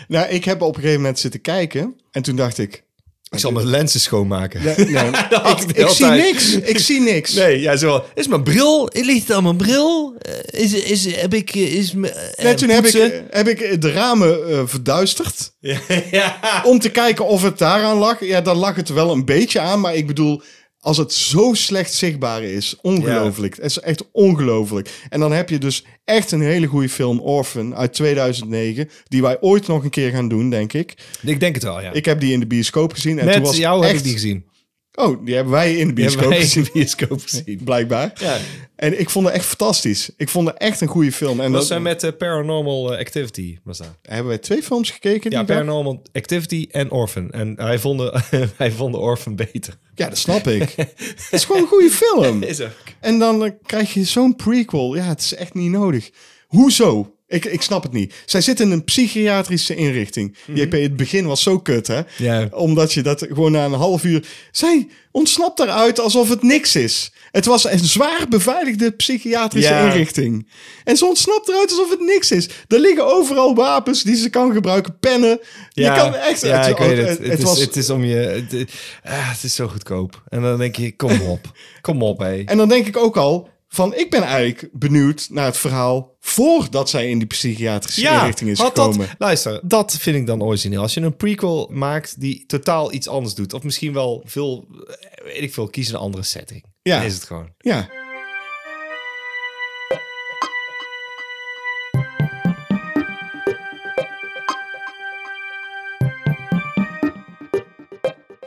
Nou, ik heb op een gegeven moment zitten kijken en toen dacht ik... Ik zal mijn lenzen schoonmaken. Nee, nee, Dat had ik, de ik hele zie tijd. niks, ik zie niks. Nee, ja, zo wel. Is mijn bril? Ligt het aan mijn bril? Eh, Is, is, heb ik... eh, Is, m- eh, En toen heb ik, poetsen? heb ik de ramen eh, verduisterd ja. om te kijken of het daaraan lag. Ja, daar lag het wel een beetje aan, maar ik bedoel... Als het zo slecht zichtbaar is, ongelooflijk. Het is echt ongelooflijk. En dan heb je dus echt een hele goede film, Orphan, uit 2009. Die wij ooit nog een keer gaan doen, denk ik. Ik denk het wel, ja. Ik heb die in de bioscoop gezien. En Met toen was jou echt... heb ik die gezien. Oh, die hebben wij in de bioscoop Hebben wij gezien. in de bioscoop gezien. Blijkbaar. Ja. En ik vond het echt fantastisch. Ik vond het echt een goede film. En Dat dat zijn met eh, Paranormal eh, Activity, was dat. hebben wij twee films gekeken. Ja, die dag? Paranormal Activity en Orphan. En hij vond, de, hij vond de Orphan beter. ja, dat snap ik. het is gewoon een goede film. Is ook. En dan eh, krijg je zo'n prequel. Ja, het is echt niet nodig. Hoezo? Ik, ik snap het niet. Zij zitten in een psychiatrische inrichting. JP, het begin was zo kut, hè? Mhm. Ja. Omdat je dat gewoon na een half uur... Zij ontsnapt eruit alsof het niks is. Het was een zwaar beveiligde psychiatrische Ja. inrichting. En ze ontsnapt eruit alsof het niks is. Er liggen overal wapens die ze kan gebruiken. Pennen. je kan echt... ja, ik weet het. Het, is, was, het is om je... Het, ah, het is zo goedkoop. En dan denk je, kom op. kom op, hé. En dan denk ik ook al van, ik ben eigenlijk benieuwd naar het verhaal voordat zij in die psychiatrische inrichting is had gekomen. Dat, luister, dat vind ik dan origineel. Als je een prequel maakt die totaal iets anders doet. Of misschien wel veel, eh, weet ik veel, kies een andere setting. Ja. Dan is het gewoon. Ja.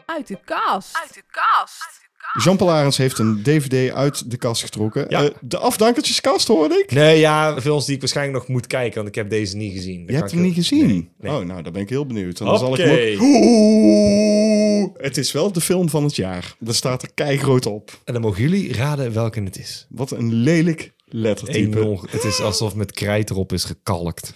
Uit de kast. Uit de kast. Jean-Paul Arends heeft een DVD uit de kast getrokken. Ja. Eh, de afdankertjeskast hoorde ik. Nee, ja, films die ik waarschijnlijk nog moet kijken, want ik heb deze niet gezien. Dan Je hebt kan hem ik- niet gezien. Nee, nee. Oh, nou, dan ben ik heel benieuwd. Dan zal ik hem Hoppakee. ook- Oeh, Het is wel de film van het jaar. Daar staat er keigroot op. En dan mogen jullie raden welke het is. Wat een lelijk lettertype. Enorm. Het is alsof met krijt erop is gekalkt.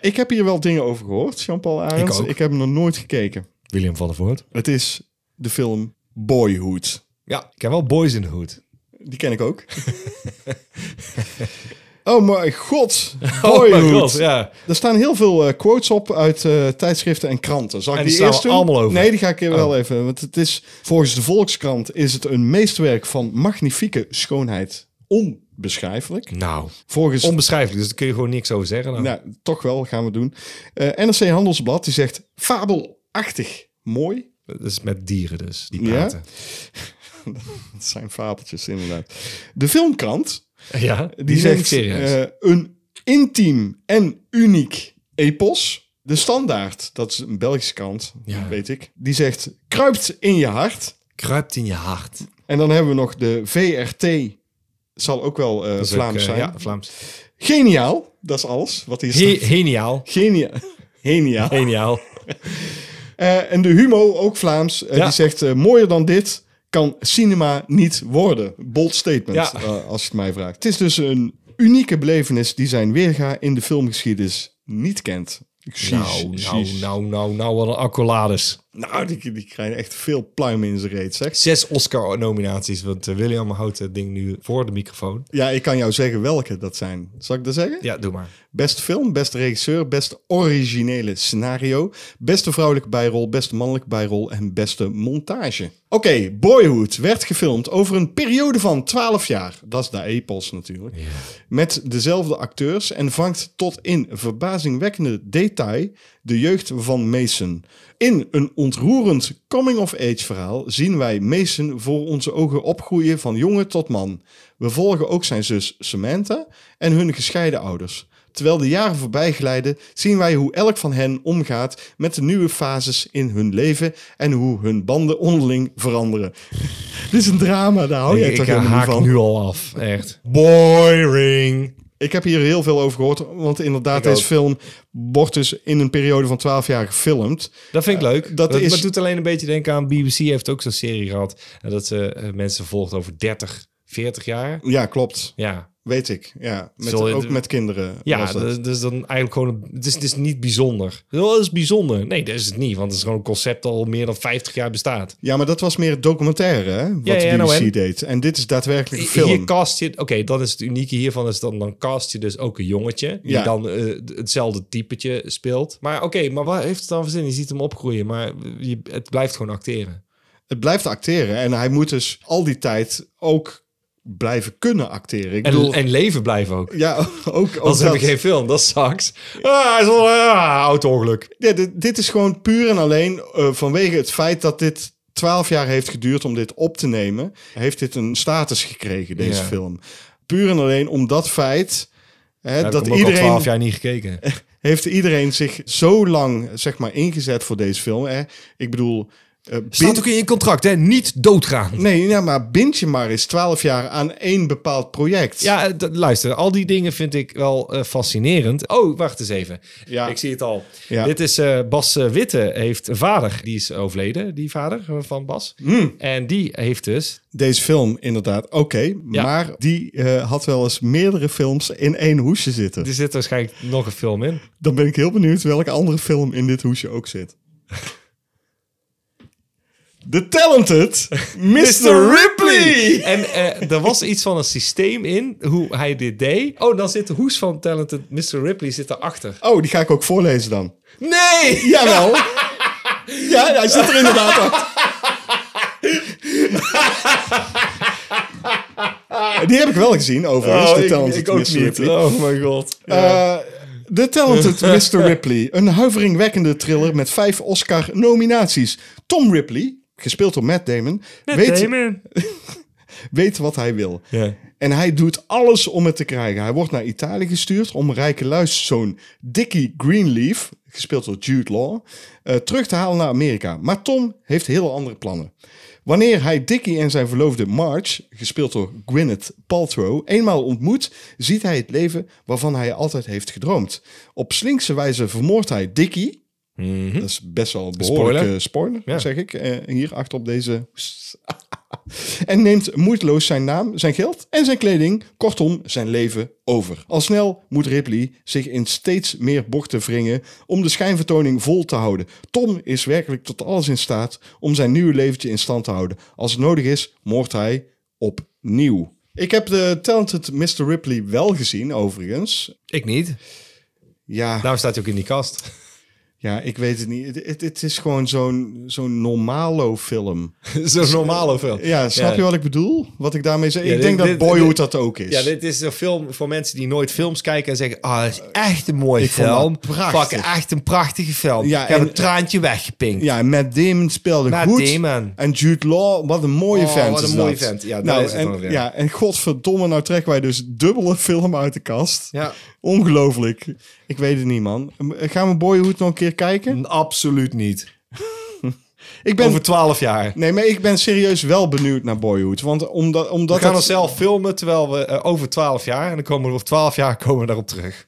Ik heb hier wel dingen over gehoord, Jean-Paul Arends. ook. ik heb hem nog nooit gekeken. William van der Voort. Het is de film Boyhood. Ja, ik heb wel Boys in the Hood. Die ken ik ook. Oh mijn god. Oh mijn Boyhood. god, ja. Er staan heel veel eh, quotes op uit eh, tijdschriften en kranten. Zal ik En die, die slaan eerst we doen? allemaal over. Oh. Nee, die ga ik hier wel even. Want het is volgens de Volkskrant is het een meesterwerk van magnifieke schoonheid. Onbeschrijfelijk. Nou, Volgens onbeschrijfelijk. Dus daar kun je gewoon niks over zeggen. Nou. Nou, toch wel gaan we doen. Eh, NRC Handelsblad die zegt fabelachtig mooi. Dat is met dieren dus, die Ja? praten. Het zijn fabeltjes inderdaad. De filmkrant Ja, die, die, zegt zegt serieus. eh, een intiem en uniek epos. De standaard, dat is een Belgische krant, Ja. weet ik. Die zegt kruipt in je hart. Kruipt in je hart. En dan hebben we nog de VRT. Zal ook wel eh, Dat is ook, Vlaams eh, zijn. Ja, Vlaams. Geniaal, dat is alles wat hier staat. He- Geniaal. Geniaal. Geniaal. Geniaal. Eh, en de Humo, ook Vlaams, eh, Ja. die zegt... eh, mooier dan dit kan cinema niet worden. Bold statement, Ja. eh, als je het mij vraagt. Het is dus een unieke belevenis die zijn weerga in de filmgeschiedenis niet kent. Precies, Nou, nou, precies. nou, nou, nou, wat een accolades. Nou, die, die krijgen echt veel pluimen in zijn reet, zeg. Zes Oscar-nominaties, want eh, William houdt het ding nu voor de microfoon. Ja, ik kan jou zeggen welke dat zijn. Zal ik dat zeggen? Ja, doe maar. Beste film, beste regisseur, beste originele scenario, beste vrouwelijke bijrol, beste mannelijke bijrol en beste montage. Oké, Boyhood werd gefilmd over een periode van 12 jaar. Dat is de epos natuurlijk. Met dezelfde acteurs en vangt tot in verbazingwekkende detail de jeugd van Mason. In een ontroerend coming-of-age verhaal zien wij Mason voor onze ogen opgroeien van jongen tot man. We volgen ook zijn zus Samantha en hun gescheiden ouders. Terwijl de jaren voorbij glijden, zien wij hoe elk van hen omgaat met de nieuwe fases in hun leven en hoe hun banden onderling veranderen. Dit is een drama, daar hou Oh, jij ik toch ik eh, helemaal niet haak van? nu al af, echt. Boring. Ik heb hier heel veel over gehoord, want inderdaad, deze ook. film wordt dus in een periode van 12 jaar gefilmd. Dat vind ik leuk. dat Dat, is- maar doet alleen een beetje denken aan BBC heeft ook zo'n serie gehad. eh, Dat ze eh, mensen volgt over 30, 40 jaar. Ja, klopt. Ja, Weet ik. Ja, met, Zo, ook d- met kinderen. ja was dat. dat- dat is dan eigenlijk gewoon... een- het, is, het is niet bijzonder. Dat is bijzonder. Nee, dat is het niet. Want het is gewoon een concept dat al meer dan 50 jaar bestaat. ja, maar dat was meer documentaire, hè? Wat Ja, ja, de BBC nou en? deed. En dit is daadwerkelijk een film. Hier cast je... Oké, dat is het unieke hiervan. Is dan, dan cast je dus ook een jongetje. Die Ja. dan eh, d- hetzelfde typetje speelt. Maar oké, maar wat heeft het dan voor zin? Je ziet hem opgroeien. Maar je, het blijft gewoon acteren. Het blijft acteren. En hij moet dus al die tijd ook blijven kunnen acteren. Ik En, bedoel, en leven blijven ook. ja, ook, ook Anders dat. heb je geen film, dat sucks. Ah, hij is wel ah, auto-ongeluk. Ja, dit, dit is gewoon puur en alleen eh, vanwege het feit dat dit 12 jaar heeft geduurd om dit op te nemen, heeft dit een status gekregen, deze Ja. film. Puur en alleen om dat feit. Hè, Heb dat ik hem ook al iedereen 12 jaar niet gekeken. heeft iedereen zich zo lang zeg maar ingezet voor deze film. Hè? Ik bedoel, eh, bin- Staat ook in je contract, hè? Niet doodgaan. nee, ja, maar bind je maar eens 12 jaar aan één bepaald project. Ja, eh, dat- luister, al die dingen vind ik wel eh, fascinerend. Oh, wacht eens even. Ja. Ik zie het al. Ja. Dit is eh, Bas eh, Witte, heeft een vader. Die is overleden, die vader eh, van Bas. Hmm. En die heeft dus... Deze film inderdaad, oké, Ja. maar die eh, had wel eens meerdere films in één hoesje zitten. Er zit waarschijnlijk nog een film in. Dan ben ik heel benieuwd welke andere film in dit hoesje ook zit. The Talented Mr. Ripley! En eh, er was iets van een systeem in, hoe hij dit deed. Oh, dan zit de hoes van Talented Mr. Ripley zit erachter. Oh, die ga ik ook voorlezen dan. Nee! Jawel. ja, hij zit er inderdaad achter. Die heb ik wel gezien, overigens. The Talented Mr. Ripley. Oh mijn god. Eh, The Talented Mr. Ripley. Een huiveringwekkende thriller met vijf Oscar-nominaties. Tom Ripley, gespeeld door Matt Damon, Eh, weet, weet wat hij wil. Ja. En hij doet alles om het te krijgen. Hij wordt naar Italië gestuurd om rijke luiszoon Dickie Greenleaf, gespeeld door Jude Law, eh, terug te halen naar Amerika. Maar Tom heeft heel andere plannen. Wanneer hij Dickie en zijn verloofde Marge, gespeeld door Gwyneth Paltrow, eenmaal ontmoet, ziet hij het leven waarvan hij altijd heeft gedroomd. Op slinkse wijze vermoordt hij Dickie. Dat is best wel Hm? een behoorlijke spoiler, Spoiler. Ja. zeg ik. eh, hier achter op deze en neemt moeiteloos zijn naam, zijn geld en zijn kleding, kortom zijn leven, over. Al snel moet Ripley zich in steeds meer bochten wringen om de schijnvertoning vol te houden. Tom is werkelijk tot alles in staat om zijn nieuwe leventje in stand te houden. Als het nodig is, moordt hij opnieuw. Ik heb de Talented Mr. Ripley wel gezien, overigens. Ik niet. Ja, Daarom staat hij ook in die kast. ja ik weet het niet. Het, het, het is gewoon zo'n zo'n normalo film. Zo'n normale film. Ja, snap Ja. je wat ik bedoel? Wat ik daarmee zeg? Ja, ik dit- denk dat dit- Boyhood dit- dat ook is. Ja, dit is een film voor mensen die nooit films kijken en zeggen... Ah, dat is echt een mooie Ik vond dat film. prachtig. Fuck, echt een prachtige film. Ja, ik heb en- een traantje weggepinkt. Ja, en Matt Damon speelde Matt goed. Damon. En Jude Law, wat een mooie Oh, vent wat is een mooie dat. vent. Ja, daar nou, is het dan en, weer. ja, en godverdomme, nou trekken wij dus dubbele film uit de kast. Ja. Ongelooflijk. Ik weet het niet, man. Eh, Gaan we Boyhood nog een keer kijken? Absoluut niet. Ik ben, Over twaalf jaar. Nee, maar ik ben serieus wel benieuwd naar Boyhood. Want omdat, omdat We gaan dat- onszelf filmen terwijl we eh, over 12 jaar... en dan komen we over 12 jaar komen we daarop terug.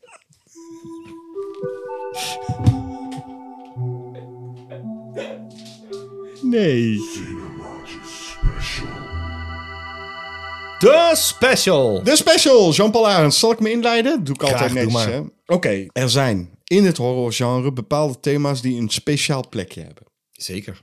Nee. De special! De special, Jean-Paul Arends. Zal ik me inleiden? Doe ik altijd Graag, doe netjes, maar. hè? Oké, er zijn in het horrorgenre bepaalde thema's die een speciaal plekje hebben. Zeker.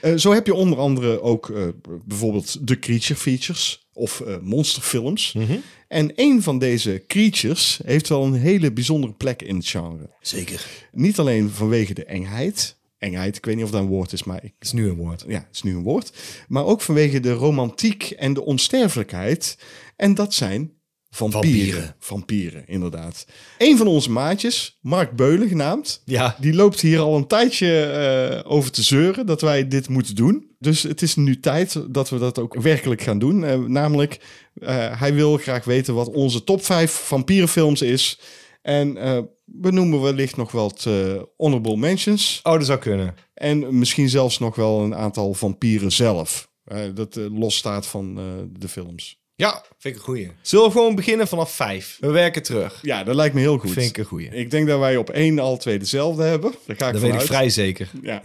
Eh, zo heb je onder andere ook eh, bijvoorbeeld de creature features of eh, monsterfilms. Mhm. En een van deze creatures heeft wel een hele bijzondere plek in het genre. Zeker. Niet alleen vanwege de engheid. Engheid, ik weet niet of dat een woord is, maar ik is nu een woord. ja, het is nu een woord. Maar ook vanwege de romantiek en de onsterfelijkheid. En dat zijn vampieren. Vampieren, Vampieren. inderdaad. Een van onze maatjes, Mark Beulen genaamd. Ja. Die loopt hier al een tijdje eh, over te zeuren dat wij dit moeten doen. Dus het is nu tijd dat we dat ook werkelijk gaan doen. Eh, namelijk, eh, hij wil graag weten wat onze top 5 vampierenfilms is. En eh, we noemen wellicht nog wat eh, honorable mentions. Oh, dat zou kunnen. En misschien zelfs nog wel een aantal vampieren zelf. Eh, dat eh, los staat van eh, de films. Ja, vind ik een goeie. Zullen we gewoon beginnen vanaf 5? We werken terug. Ja, dat lijkt me heel goed. Vind ik een goeie. Ik denk dat wij op één al twee dezelfde hebben. Daar ga ik van dat weet ik uit. vrij zeker. Ja.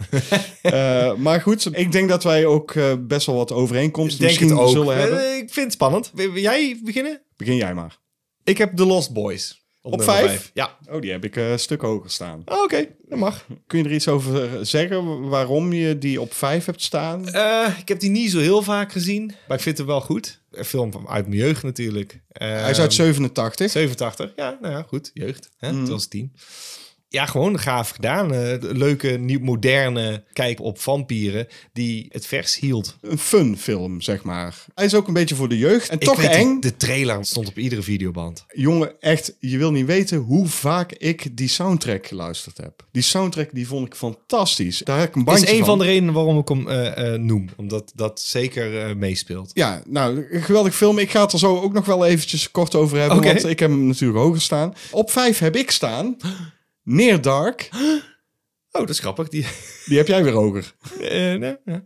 Eh, maar goed, ik denk dat wij ook eh, best wel wat overeenkomsten Ik denk het misschien ook. zullen hebben. Eh, Ik vind het spannend. Wil wil jij beginnen? Begin jij maar. Ik heb The Lost Boys. Op nummer vijf? vijf. Ja. Oh, die heb ik eh, een stuk hoger staan. Oh, Oké, dat mag. Kun je er iets over eh, zeggen waarom je die op vijf hebt staan? Eh, ik heb die niet zo heel vaak gezien, maar ik vind hem wel goed. Een film van- uit mijn jeugd natuurlijk. Hij is uit Ehm, 87. 87. Ja, nou ja, goed. Jeugd. Hè? Toen was ik tien. Ja, gewoon gaaf gedaan. Eh, leuke, nieuw, moderne kijk op vampieren die het vers hield. Een fun film, zeg maar. Hij is ook een beetje voor de jeugd. En toch ik weet, eng. De trailer stond op iedere videoband. Jongen, echt, je wil niet weten hoe vaak ik die soundtrack geluisterd heb. Die soundtrack die vond ik fantastisch. Daar heb ik een Dat bandje is een van de redenen waarom ik hem eh, eh, noem. Omdat dat zeker eh, meespeelt. Ja, nou, een geweldig film. Ik ga het er zo ook nog wel eventjes kort over hebben, Oké. want ik heb hem natuurlijk hoger staan. Op vijf heb ik staan. Near Dark. Oh, dat is grappig. Die, Die heb jij weer hoger. eh, nee, ja.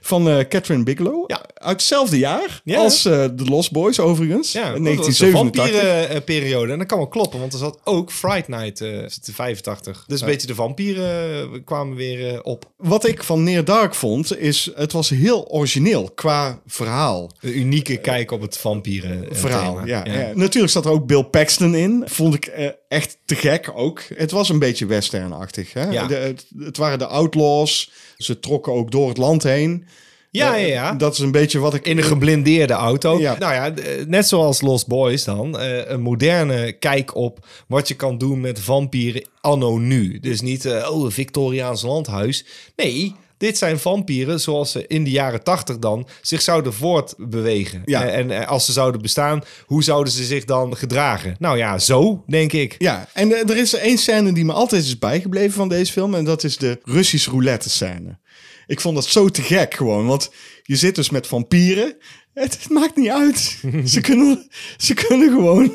Van eh, Catherine Bigelow. Ja. Uit hetzelfde jaar Ja. als eh The Lost Boys overigens. Ja, in dat was de 1987. vampierenperiode. En dat kan wel kloppen, want er zat ook Fright Night eh, te 85. Dus een beetje de vampieren eh, kwamen weer eh, op. Wat ik van Near Dark vond, is het was heel origineel qua verhaal. Een unieke kijk op het vampieren eh, Eh, verhaal. thema. Ja, ja. Natuurlijk zat er ook Bill Paxton in. Vond ik eh, echt te gek ook. Het was een beetje westernachtig. Hè? Ja. De- het, het waren de outlaws. Ze trokken ook door het land heen. Ja, ja, Eh, ja. Dat is een beetje wat ik... In een geblindeerde auto. Ja. Nou ja, d- net zoals Lost Boys dan. eh, Een moderne kijk op wat je kan doen met vampieren anno nu. Dus niet, eh, oh, een Victoriaans landhuis. Nee, dit zijn vampieren zoals ze in de jaren tachtig dan zich zouden voortbewegen. Ja. Eh, En eh, als ze zouden bestaan, hoe zouden ze zich dan gedragen? Nou ja, zo denk ik. Ja, en eh, er is één scène die me altijd is bijgebleven van deze film. En dat is de Russisch roulette scène. Ik vond dat zo te gek gewoon. Want je zit dus met vampieren. Het, het maakt niet uit. ze, kunnen, ze kunnen gewoon...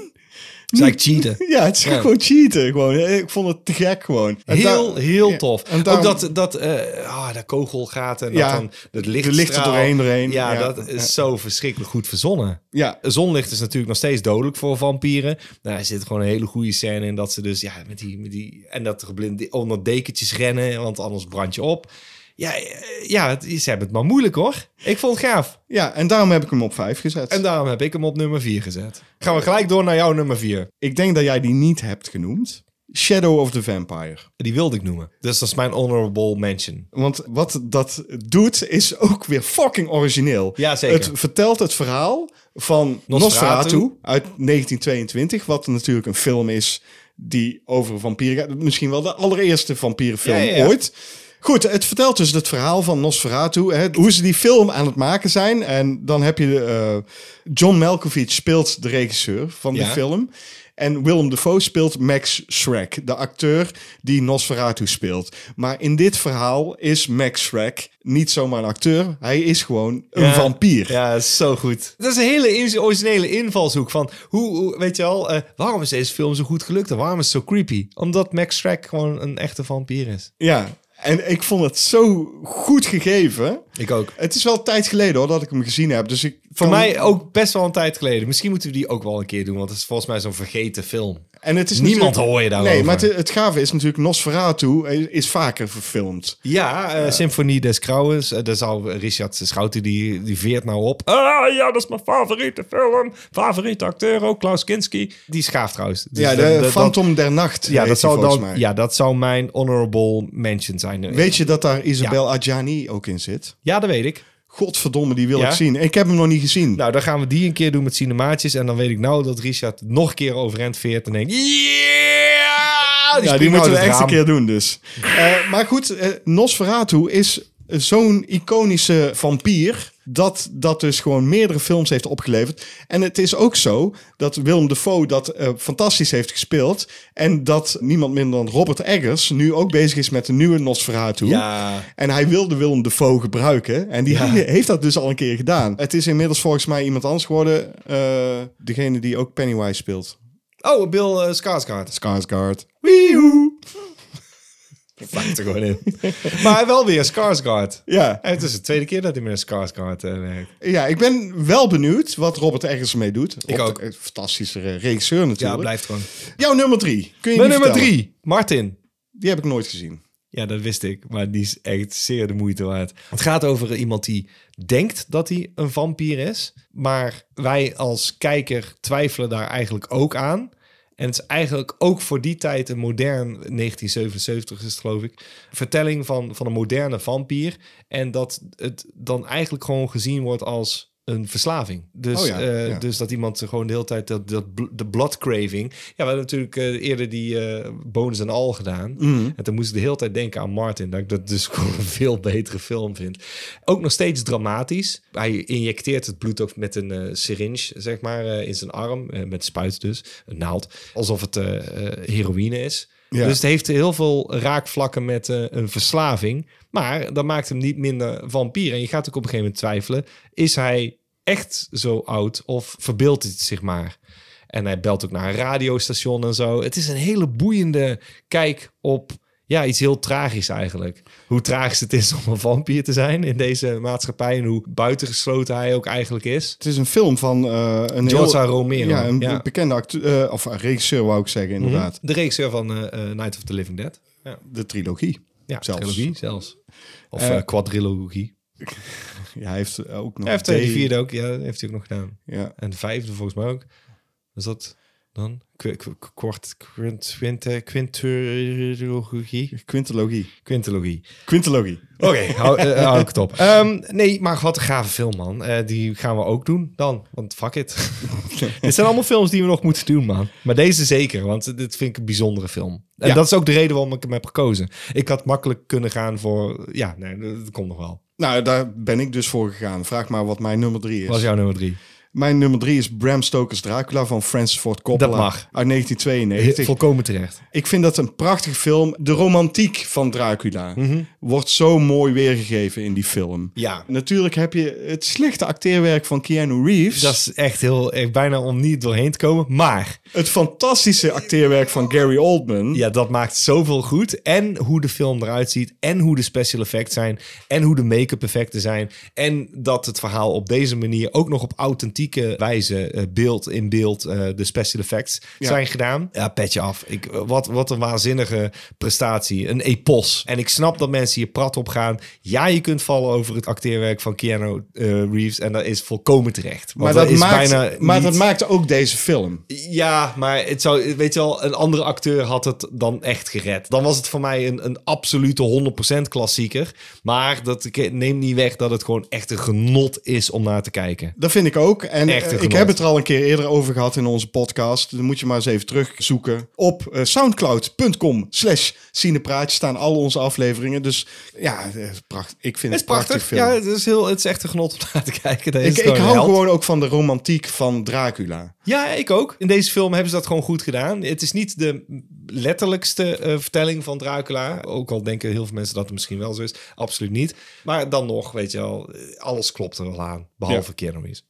Zij cheaten. Ja, het is Ja. gewoon cheaten. Gewoon. Ik vond het te gek gewoon. En Heel, daar- heel ja, tof. en daarom- Ook dat, dat, eh ah, dat kogelgaat en Ja, dat dan het de licht, licht er doorheen, doorheen. Ja, Ja. dat is zo verschrikkelijk goed verzonnen. Ja, Zonlicht is natuurlijk nog steeds dodelijk voor vampieren. Nou, er zit gewoon een hele goede scène in dat ze dus ja, met die, met die en dat geblind onder dekentjes rennen, want anders brand je op. Ja, eh, ja, het- ze hebben het maar moeilijk hoor. Ik vond het gaaf. ja, en daarom heb ik hem op 5 gezet. En daarom heb ik hem op nummer 4 gezet. Gaan we gelijk door naar jouw nummer 4. ik denk dat jij die niet hebt genoemd. Shadow of the Vampire. Die wilde ik noemen. Dus dat is mijn honorable mention. Want wat dat doet is ook weer fucking origineel. Ja, zeker. Het vertelt het verhaal van Nosferatu. Nosferatu, uit 1922. Wat natuurlijk een film is die over vampieren gaat. Misschien wel de allereerste vampierenfilm Ja, ja, ja. ooit. Goed, het vertelt dus het verhaal van Nosferatu. Hè, hoe ze die film aan het maken zijn. En dan heb je... eh, John Malkovich speelt de regisseur van die Ja. film. En Willem Dafoe speelt Max Schreck, de acteur die Nosferatu speelt. Maar in dit verhaal is Max Schreck niet zomaar een acteur. Hij is gewoon een Ja. vampier. Ja, dat is zo goed. Dat is een hele in- originele invalshoek van hoe, hoe- weet je al, eh, waarom is deze film zo goed gelukt en waarom is het zo creepy? Omdat Max Shrek gewoon een echte vampier is. Ja, en ik vond het zo goed gegeven. Ik ook. Het is wel een tijd geleden hoor dat ik hem gezien heb. Dus ik Voor kan- mij ook best wel een tijd geleden. Misschien moeten we die ook wel een keer doen, want het is volgens mij zo'n vergeten film. En het is Niemand natuurlijk- hoor je daarover. Nee, maar het, het gave is natuurlijk Nosferatu is, is vaker verfilmd. Ja, eh Symfonie des Krauwens. eh, daar zou Richard Schouten, die, die veert nou op. Ah ja, dat is mijn favoriete film. Favoriete acteur ook, Klaus Kinski. Die schaaft trouwens. Dus ja, de, dat- dat- Phantom der Nacht. Ja, heet dat die zou volgens dan, mij. ja, dat zou mijn honorable mention zijn. Weet je dat daar Isabel Adjani ook in zit? Ja, dat weet ik. Godverdomme, die wil Ja? ik zien. Ik heb hem nog niet gezien. Nou, dan gaan we die een keer doen met cinemaatjes. En dan weet ik nou dat Richard nog een keer overend veert en denkt... Yeah! ja, die nou moeten we echt een keer doen dus. Eh, maar goed, eh, Nosferatu is zo'n iconische vampier... dat dat dus gewoon meerdere films heeft opgeleverd. En het is ook zo dat Willem Dafoe dat eh, fantastisch heeft gespeeld... en dat niemand minder dan Robert Eggers nu ook bezig is met de nieuwe Nosferatu. Ja. En hij wilde Willem Dafoe gebruiken. En die Ja. heeft dat dus al een keer gedaan. Het is inmiddels volgens mij iemand anders geworden. eh, degene die ook Pennywise speelt. Oh, Bill eh, Skarsgård. Skarsgård. Vlakt er gewoon in. maar wel weer Skarsgård. Ja. En het is de tweede keer dat hij met een Skarsgård eh, werkt. ja, ik ben wel benieuwd wat Robert Eggers ermee doet. Robert ook. Eggers, Fantastische eh, regisseur natuurlijk. gewoon. Jouw nummer drie. Kun je Mijn die nummer vertellen? drie, Martin. Die heb ik nooit gezien. Ja, dat wist ik, maar die is echt zeer de moeite waard. Het gaat over iemand die denkt dat hij een vampier is, maar wij als kijker twijfelen daar eigenlijk ook aan. En het is eigenlijk ook voor die tijd een modern, 1977 is het geloof ik, vertelling van, van een moderne vampier. En dat het dan eigenlijk gewoon gezien wordt als een verslaving. Dus, Oh ja, eh, ja. dus dat iemand gewoon de hele tijd dat, dat bl- de blood craving. Ja, we hebben natuurlijk eh, eerder die eh bonus en al gedaan. Mhm. En toen moest ik de hele tijd denken aan Martin. Dat ik dat dus gewoon een veel betere film vind. Ook nog steeds dramatisch. Hij injecteert het bloed ook met een eh, syringe, zeg maar, eh, in zijn arm. eh, met spuit dus, een naald. Alsof het eh, eh, heroïne is. Ja. Dus het heeft heel veel raakvlakken met eh, een verslaving. Maar dat maakt hem niet minder vampier. En je gaat ook op een gegeven moment twijfelen. Is hij echt zo oud of verbeeldt hij het zich maar? En hij belt ook naar een radiostation en zo. Het is een hele boeiende kijk op ja, iets heel tragisch eigenlijk. Hoe tragisch het is om een vampier te zijn in deze maatschappij. En hoe buitengesloten hij ook eigenlijk is. Het is een film van eh, een George R. Romero, Ja, een ja. Mhm. bekende acteur. eh, of regisseur wou ik zeggen, inderdaad. De regisseur van eh, eh, Night of the Living Dead. Ja, De trilogie. ja Zelfs. trilogie zelfs. Of Eh, eh, quadrilogie. Ja, hij heeft ook nog... Hij heeft eh, die twee- vierde ook, ja, dat heeft hij ook nog gedaan. Ja. En de vijfde volgens mij ook. Is dat dan? Qu- qu- Kwart, quint, quinte, quintilogie? Quintologie. Quintologie. Quintologie. Oké, hou, eh, hou ik het op. Ehm, nee, maar wat een gave film, man. Eh, die gaan we ook doen dan, want fuck it. Dit zijn allemaal films die we nog moeten doen, man. Maar deze zeker, want dit vind ik een bijzondere film. En Ja. dat is ook de reden waarom ik hem heb gekozen. Ik had makkelijk kunnen gaan voor... Ja, nee, dat komt nog wel. Nou, daar ben ik dus voor gegaan. Vraag maar wat mijn nummer drie is. Wat was jouw nummer drie? Mijn nummer drie is Bram Stoker's Dracula van Francis Ford Coppola. Dat mag. Uit 1992. Volkomen terecht. Ik vind dat een prachtige film. De romantiek van Dracula wordt zo mooi weergegeven in die film. Mhm. Ja. Natuurlijk heb je het slechte acteerwerk van Keanu Reeves. Dat is echt heel... echt bijna om niet doorheen te komen, maar... Het fantastische acteerwerk van Gary Oldman. Ja, dat maakt zoveel goed. En hoe de film eruit ziet. En hoe de special effects zijn. En hoe de make-up effecten zijn. En dat het verhaal op deze manier ook nog op authentieke wijze, eh, beeld in beeld, eh, de special effects Ja. zijn gedaan. Ja, petje af. Ik, eh, wat, wat een waanzinnige prestatie. Een epos. En ik snap dat mensen hier prat op gaan. Ja, je kunt vallen over het acteerwerk van Keanu eh, Reeves. En dat is volkomen terecht. Want Maar, dat, is maakt, bijna maar dat niet- maakt ook deze film. ja, maar het zou, weet je wel, een andere acteur had het dan echt gered. Dan was het voor mij een, een absolute 100% klassieker. Maar dat ik- neem niet weg dat het gewoon echt een genot is om naar te kijken. Dat vind ik ook. En Echt een eh, ik genot. heb het er al een keer eerder over gehad in onze podcast. Dan moet je maar eens even terugzoeken. Op eh, soundcloud.com slash cinepraatje staan al onze afleveringen. Dus ja, eh, pracht, ik vind Het is het prachtig, prachtig. film. Ja, het is, heel, het is echt een genot om naar te kijken. Deze ik is ik een hou held. gewoon ook van de romantiek van Dracula. Ja, ik ook. In deze film hebben ze dat gewoon goed gedaan. Het is niet de letterlijkste eh, vertelling van Dracula. Ook al denken heel veel mensen dat het misschien wel zo is. Absoluut niet. Maar dan nog, weet je wel, eh, alles klopt er wel aan. Behalve Keanu Reeves.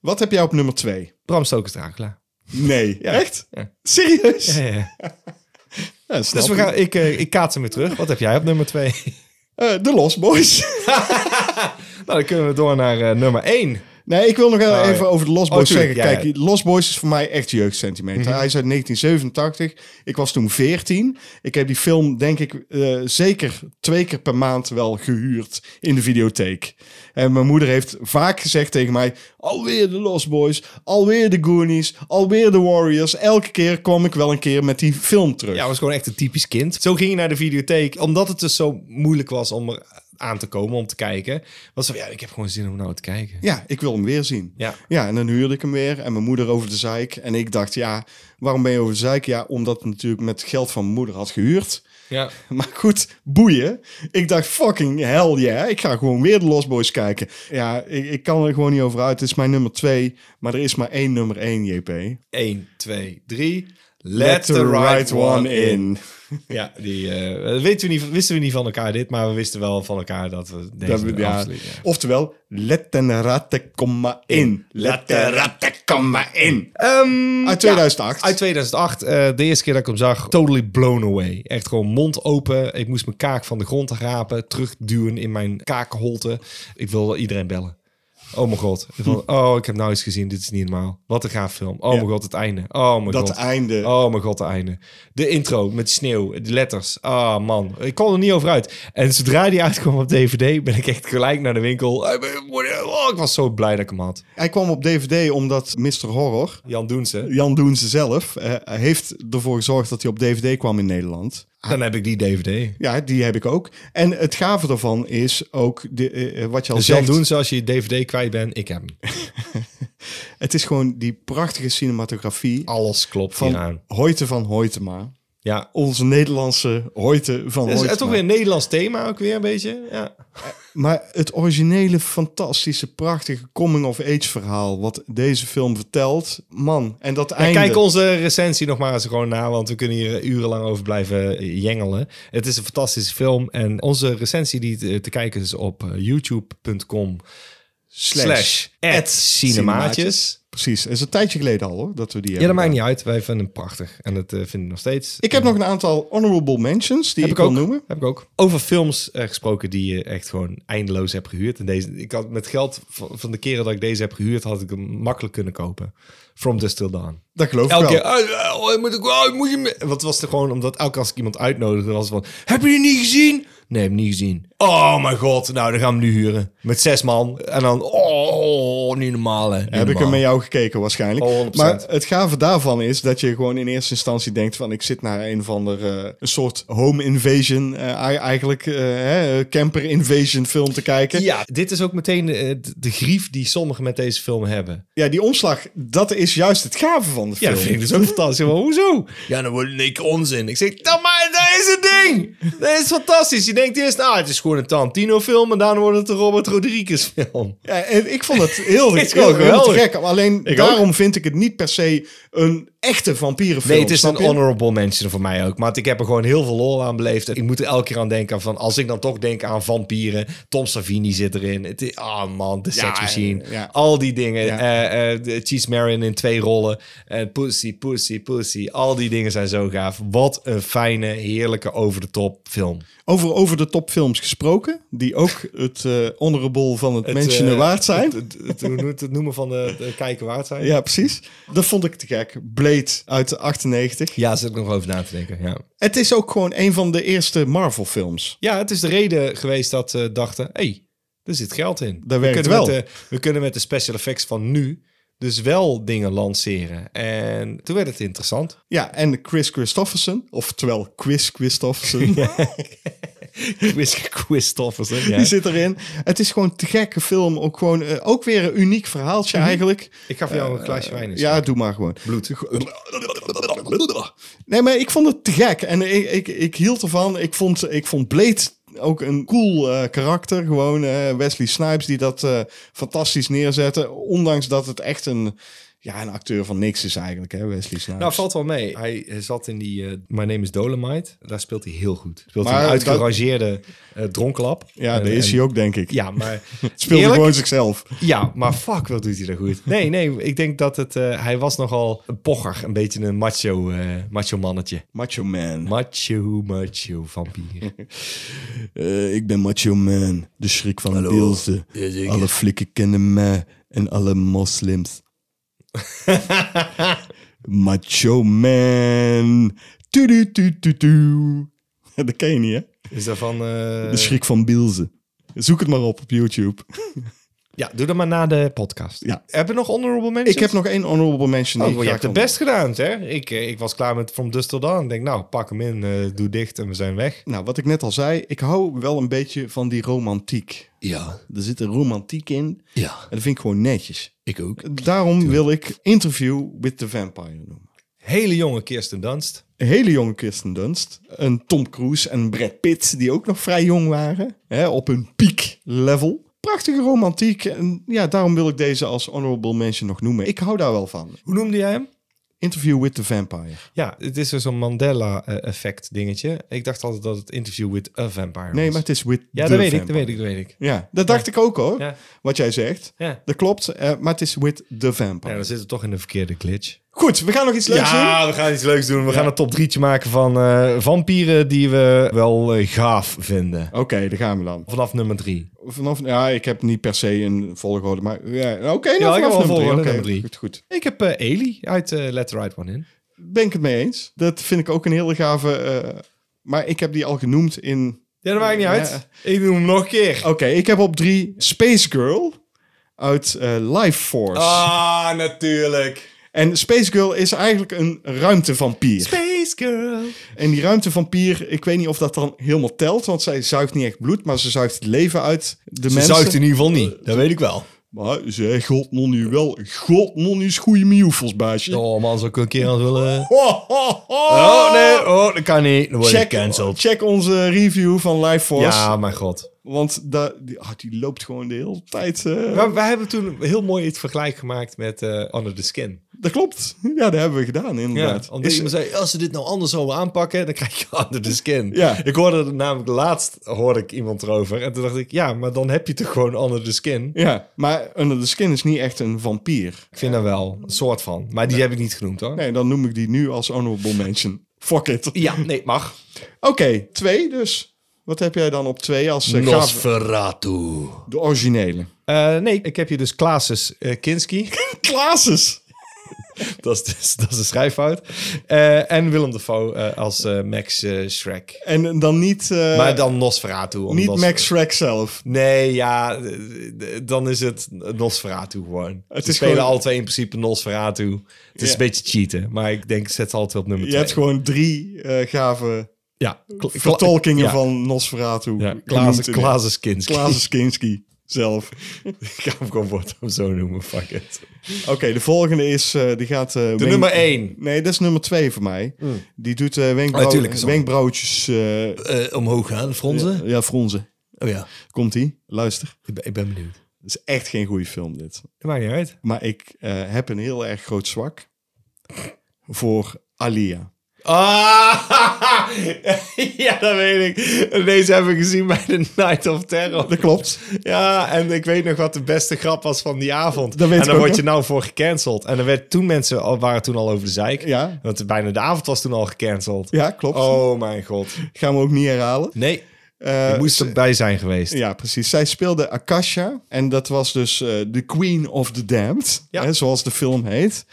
Wat heb jij op nummer twee? Bram Stoker's Dracula. Nee, echt? Ja. Serieus? Ja, ja, ja. Ja, Dus snap we ik. gaan, ik, eh, ik kaats hem weer terug. Wat heb jij op nummer 2? Eh, de Lost Boys. nou, dan kunnen we door naar eh, nummer 1. Nee, ik wil nog wel Oh, ja. even over de Lost Oh, Boys tuurlijk, zeggen. ja, Mhm. Kijk, Lost Boys is voor mij echt jeugdsentiment. Hij is uit 1987. Ik was toen 14. Ik heb die film, denk ik, eh, zeker twee keer per maand wel gehuurd in de videotheek. En mijn moeder heeft vaak gezegd tegen mij... Alweer de Lost Boys, alweer de Goonies, alweer de Warriors. Elke keer kwam ik wel een keer met die film terug. Ja, was gewoon echt een typisch kind. Zo ging je naar de videotheek. Omdat het dus zo moeilijk was om er aan te komen, om te kijken. Was zo, van, ja, ik heb gewoon zin om nou te kijken. Ja, ik wil hem weer zien. Ja. ja, en dan huurde ik hem weer. En mijn moeder over de zeik. En ik dacht, ja, waarom ben je over de zeik? Ja, omdat ik natuurlijk met geld van mijn moeder had gehuurd. Ja. Maar goed, boeien. Ik dacht, fucking hell yeah. Ik ga gewoon weer de Lost Boys kijken. Ja, ik, ik kan er gewoon niet over uit. Het is mijn nummer twee. Maar er is maar één nummer één, JP. 1, 2, 3. Let the right one in. Ja, die eh, weten we niet, wisten we niet van elkaar dit, maar we wisten wel van elkaar dat we deze Dat we- ja. absoluut, ja. Oftewel, let den ratte komma in. Let den ratte komma in. Ehm, Uit 2008. ja, uit 2008, eh, de eerste keer dat ik hem zag, totally blown away. Echt gewoon mond open. Ik moest mijn kaak van de grond rapen, terugduwen in mijn kaakholte. Ik wilde iedereen bellen. Oh mijn god. Ik vond- oh, ik heb nou iets gezien. Dit is niet normaal. Wat een gaaf film. Oh Hm. Ja. mijn god, het einde. Oh mijn Dat god. einde. Oh mijn god, het einde. De intro met sneeuw, de letters. Ah man, ik kon er niet over uit. En zodra die uitkwam op DVD, ben ik echt gelijk naar de winkel. Oh, ik was zo blij dat ik hem had. Hij kwam op DVD omdat Mr. Horror... Jan Doense. Jan Doense zelf eh, heeft ervoor gezorgd dat hij op DVD kwam in Nederland. Dan heb ik die DVD. Ja, die heb ik ook. En het gave daarvan is ook de, eh, eh, wat je al Dus Jan zegt. doen zoals je je DVD kwijt bent, ik heb hem. Het is gewoon die prachtige cinematografie Alles klopt van hieraan. Hoyte van Hoytema. Ja. Onze Nederlandse Hoyte van Het is Hoytema. toch weer een Nederlands thema ook weer een beetje. Ja. Maar het originele, fantastische, prachtige coming-of-age verhaal... wat deze film vertelt. Man, en dat En einde... kijk onze recensie nog maar eens gewoon na, want we kunnen hier urenlang over blijven eh, jengelen. Het is een fantastische film en onze recensie die te- te kijken is op eh, youtube.com slash at cinemaatjes. Precies, het is een tijdje geleden al hoor, dat we die Ja, dat hebben maakt gedaan. niet uit. Wij vinden hem prachtig en dat eh, vinden we nog steeds. Ik heb nog een aantal honorable mentions die Heb ik, ik wil ook. noemen. Heb ik ook. Over films eh, gesproken die je echt gewoon eindeloos hebt gehuurd. En deze, ik had met geld van, van de keren dat ik deze heb gehuurd, had ik hem makkelijk kunnen kopen. From Dust Till Dawn. Dat geloof Elke ik keer, wel. oh, oh, moet ik, oh, moet je me... Wat was er gewoon, omdat elke keer als ik iemand uitnodigde, was het van, heb je die niet gezien? Nee, heb ik niet gezien. Oh mijn god, nou, dan gaan we hem nu huren. Met zes man. En dan, oh, niet normaal hè. Niet Heb ik normaal. hem met jou gekeken waarschijnlijk. Oh, 100%. maar het gave daarvan is dat je gewoon in eerste instantie denkt van... ik zit naar een van de een soort home invasion, eh, ei- eigenlijk eh, hè, camper invasion film te kijken. Ja, dit is ook meteen eh, de, de grief die sommigen met deze film hebben. Ja, die omslag, dat is juist het gave van de Ja, film. dat vind ik dus ook fantastisch. Maar hoezo? Ja, dan wordt ik onzin. Ik zeg, dan maar, dat is het ding. Dat is fantastisch. Je denkt eerst, nou, het is gewoon een Tarantino-film. En daarna wordt het een Robert Rodriguez-film. Ja, en ik vond het heel, Het is heel, gewoon heel geweldig. te gek. Alleen Ik daarom vind ik het niet per se een echte vampierenfilm. Nee, het is snap een je? honorable mention voor mij ook. Maar ik heb er gewoon heel veel lol aan beleefd. En ik moet er elke keer aan denken van... Als ik dan toch denk aan vampieren. Tom Savini zit erin. Het is, ah man, de Ja, sex machine. ja. Al die dingen. Ja. eh eh, de Cheese Marion in twee rollen. Eh, pussy, pussy, pussy. Al die dingen zijn zo gaaf. Wat een fijne, heerlijke, over de top film. Over, over de topfilms gesproken, die ook het eh, honorable van het, mentionen eh, waard zijn. Het, het, het- hoe noemt het noemen van de, de kijken waard zijn. ja, precies. Dat vond ik te gek. Blade uit 98. Ja, zit ik nog over na te denken. Ja. Het is ook gewoon een van de eerste Marvel films. Ja, het is de reden geweest dat ze dachten: hé, hey, er zit geld in. Dat we werkt kunnen wel. Met de, we kunnen met de special effects van nu dus wel dingen lanceren. En toen werd het interessant. Ja, en Chris Christofferson, oftewel Chris Christofferson, Chris Christofferson. die zit erin. Het is gewoon te gekke film, ook, gewoon, eh, ook weer een uniek verhaaltje eigenlijk. Ik gaf jou een glaasje wijn. dus. eens. Eh, Ja, doe maar gewoon. Bloed. Nee, maar ik vond het te gek. En ik, ik, ik hield ervan. Ik vond, ik vond Blade ook een cool eh, karakter. Gewoon eh, Wesley Snipes die dat eh, fantastisch neerzette. Ondanks dat het echt een, ja, een acteur van niks is eigenlijk, hè, Wesley Snipes. Nou, valt wel mee. Hij zat in die eh My Name is Dolomite. Daar speelt hij heel goed. Speelt hij Maar een dat- uitgerangeerde eh dronklap. ja, En- dat is en- hij ook, denk ik. Ja, maar Het speelde eerlijk- gewoon zichzelf. Ja, maar fuck, wat doet hij er goed. Nee, nee, ik denk dat het... eh, hij was nogal een pocher, een beetje een macho, eh, macho mannetje. Macho man. Macho, macho vampier. Eh, ik ben Macho Man, de schrik van eh. de beelden. alle flikken kennen mij en alle moslims. macho Man. Tudu, tudu, tudu. Dat ken je niet, hè? Is dat van... eh, De schrik van Bielsen. Zoek het maar op op YouTube. Ja, doe dat maar na de podcast. Ja. Hebben we nog honorable mentions? Ik heb nog één honorable mention. die Oh, ik je graag hebt het wil- best gedaan, hè? Ik, eh, ik was klaar met From Dust Till Dawn. Ik denk, nou, pak hem in, eh, doe dicht en we zijn weg. Nou, wat ik net al zei, ik hou wel een beetje van die romantiek. Ja, Er zit een romantiek in ja, en dat vind ik gewoon netjes. ik ook. Daarom wil ik Interview with the Vampire noemen. Hele jonge Kirsten Dunst. Een hele jonge Kirsten Dunst, een Tom Cruise en Brad Pitt, die ook nog vrij jong waren, hè, op hun piek level. Prachtige romantiek en ja, daarom wil ik deze als honorable mention nog noemen. Ik hou daar wel van. Hoe noemde jij hem? Interview with the Vampire. Ja, het is dus weer zo'n Mandela-effect eh, dingetje. Ik dacht altijd dat het interview with a vampire was. Nee, maar het is with Ja, the dat weet ik, Vampire. dat weet ik, dat weet ik. Ja, dat dacht ik ook hoor, Ja. wat jij zegt. Ja. Dat klopt, eh, maar het is with the Vampire. Ja, dan zitten we toch in de verkeerde glitch. Goed, we gaan nog iets leuks doen. we gaan iets leuks doen. We gaan een top drietje maken van eh, vampieren die we wel eh, gaaf vinden. Oké, daar gaan we dan. Vanaf nummer drie. Vanaf, ja, ik heb niet per se een volgorde, maar ja, oké, nou, Ja, ik heb vanaf wel nummer een drie. volgorde, Oké, nummer drie. Goed, goed. Ik heb eh Eli uit eh Let the Right One In. Ben ik het mee eens. Dat vind ik ook een hele gave. eh, maar ik heb die al genoemd in. Ja, dat maakt niet Ja. uit. Ik doe hem nog een keer. Oké, ik heb op drie Space Girl uit eh, Life Force. Ah, natuurlijk. En Space Girl is eigenlijk een ruimtevampier. Space Girl. en die ruimtevampier, ik weet niet of dat dan helemaal telt, want zij zuigt niet echt bloed, maar ze zuigt het leven uit de Ze mensen. zuigt in ieder geval niet. Dat weet ik wel. Maar ze god non nu wel, god non nu is goede mioefels, baasje. Oh man, zou ik een keer als willen... Ho, ho, ho. Oh nee, oh, dat kan niet. Dan word je Check, gecanceld. check onze review van Life Force. Ja, mijn god. Want da, die, ah, die loopt gewoon de hele tijd. eh, Maar wij hebben toen heel mooi het vergelijk gemaakt met eh Under the Skin. dat klopt. Ja, dat hebben we gedaan, Ja, inderdaad. omdat Is- iemand zei, als ze dit nou anders zouden aanpakken, dan krijg je Under the Skin. Ja. Ik hoorde het namelijk laatst, hoorde ik iemand erover. En toen dacht ik, ja, maar dan heb je toch gewoon Under the Skin? ja, maar Under the Skin is niet echt een vampier. Ik vind daar wel een soort van. Maar die heb ik niet genoemd hoor. Nee, dan noem ik die nu als honorable mention. Fuck it. Oké, Ja, nee, mag. twee dus. Wat heb jij dan op twee als eh, gaaf- Nosferatu. de originele? Eh, nee, ik heb hier dus Klaasus eh, Kinski. Klaasus. dat, is dus, dat is de schrijffout. Eh, en Willem Dafoe eh, als eh, Max eh, Shrek. En dan niet, eh, maar dan Nosferatu. niet omdat- Max Shrek zelf. Nee, ja, eh, eh, dan is het Nosferatu gewoon. Het is is spelen gewoon- alle twee in principe Nosferatu. Het is Ja. een beetje cheaten, maar ik denk, zet ze altijd wel op nummer Je twee. hebt gewoon drie eh, gave ja, kla- kla- vertolkingen ja, van Nosferatu. Ja, Genoemd Klaas, in- Klaas Kinski. Klaasus Kinski zelf. Ik ga hem gewoon voortaan zo noemen, fuck it. Oké, de volgende is, eh, die gaat... eh, De Wing- nummer één. Hmm. Nee, dat is nummer twee voor mij. Die doet eh wenkbrauw- Oh, tuurlijk, is al. wenkbrauwtjes... eh, omhoog gaan, fronzen. ja, fronzen. Oh ja, Komt-ie, luister. ik ben, ik ben benieuwd. Het is echt geen goede film, dit. Dat maakt niet uit. Maar ik eh, heb een heel erg groot zwak voor Alia. Ah, ja, dat weet ik. Deze hebben we gezien bij de Night of Terror. Dat klopt. Ja, en ik weet nog wat de beste grap was van die avond. Dat weet en ik daar ook word nog. je nou voor gecanceld. En er werd toen mensen al, waren toen al over de zeik. Ja. Want bijna de avond was toen al gecanceld. Ja, klopt. Oh mijn god. Gaan we ook niet herhalen. Nee, Eh, je moest erbij zijn geweest. Ja, precies. Zij speelde Akasha. En dat was dus eh, de Queen of the Damned. Ja. Hè, zoals de film heet.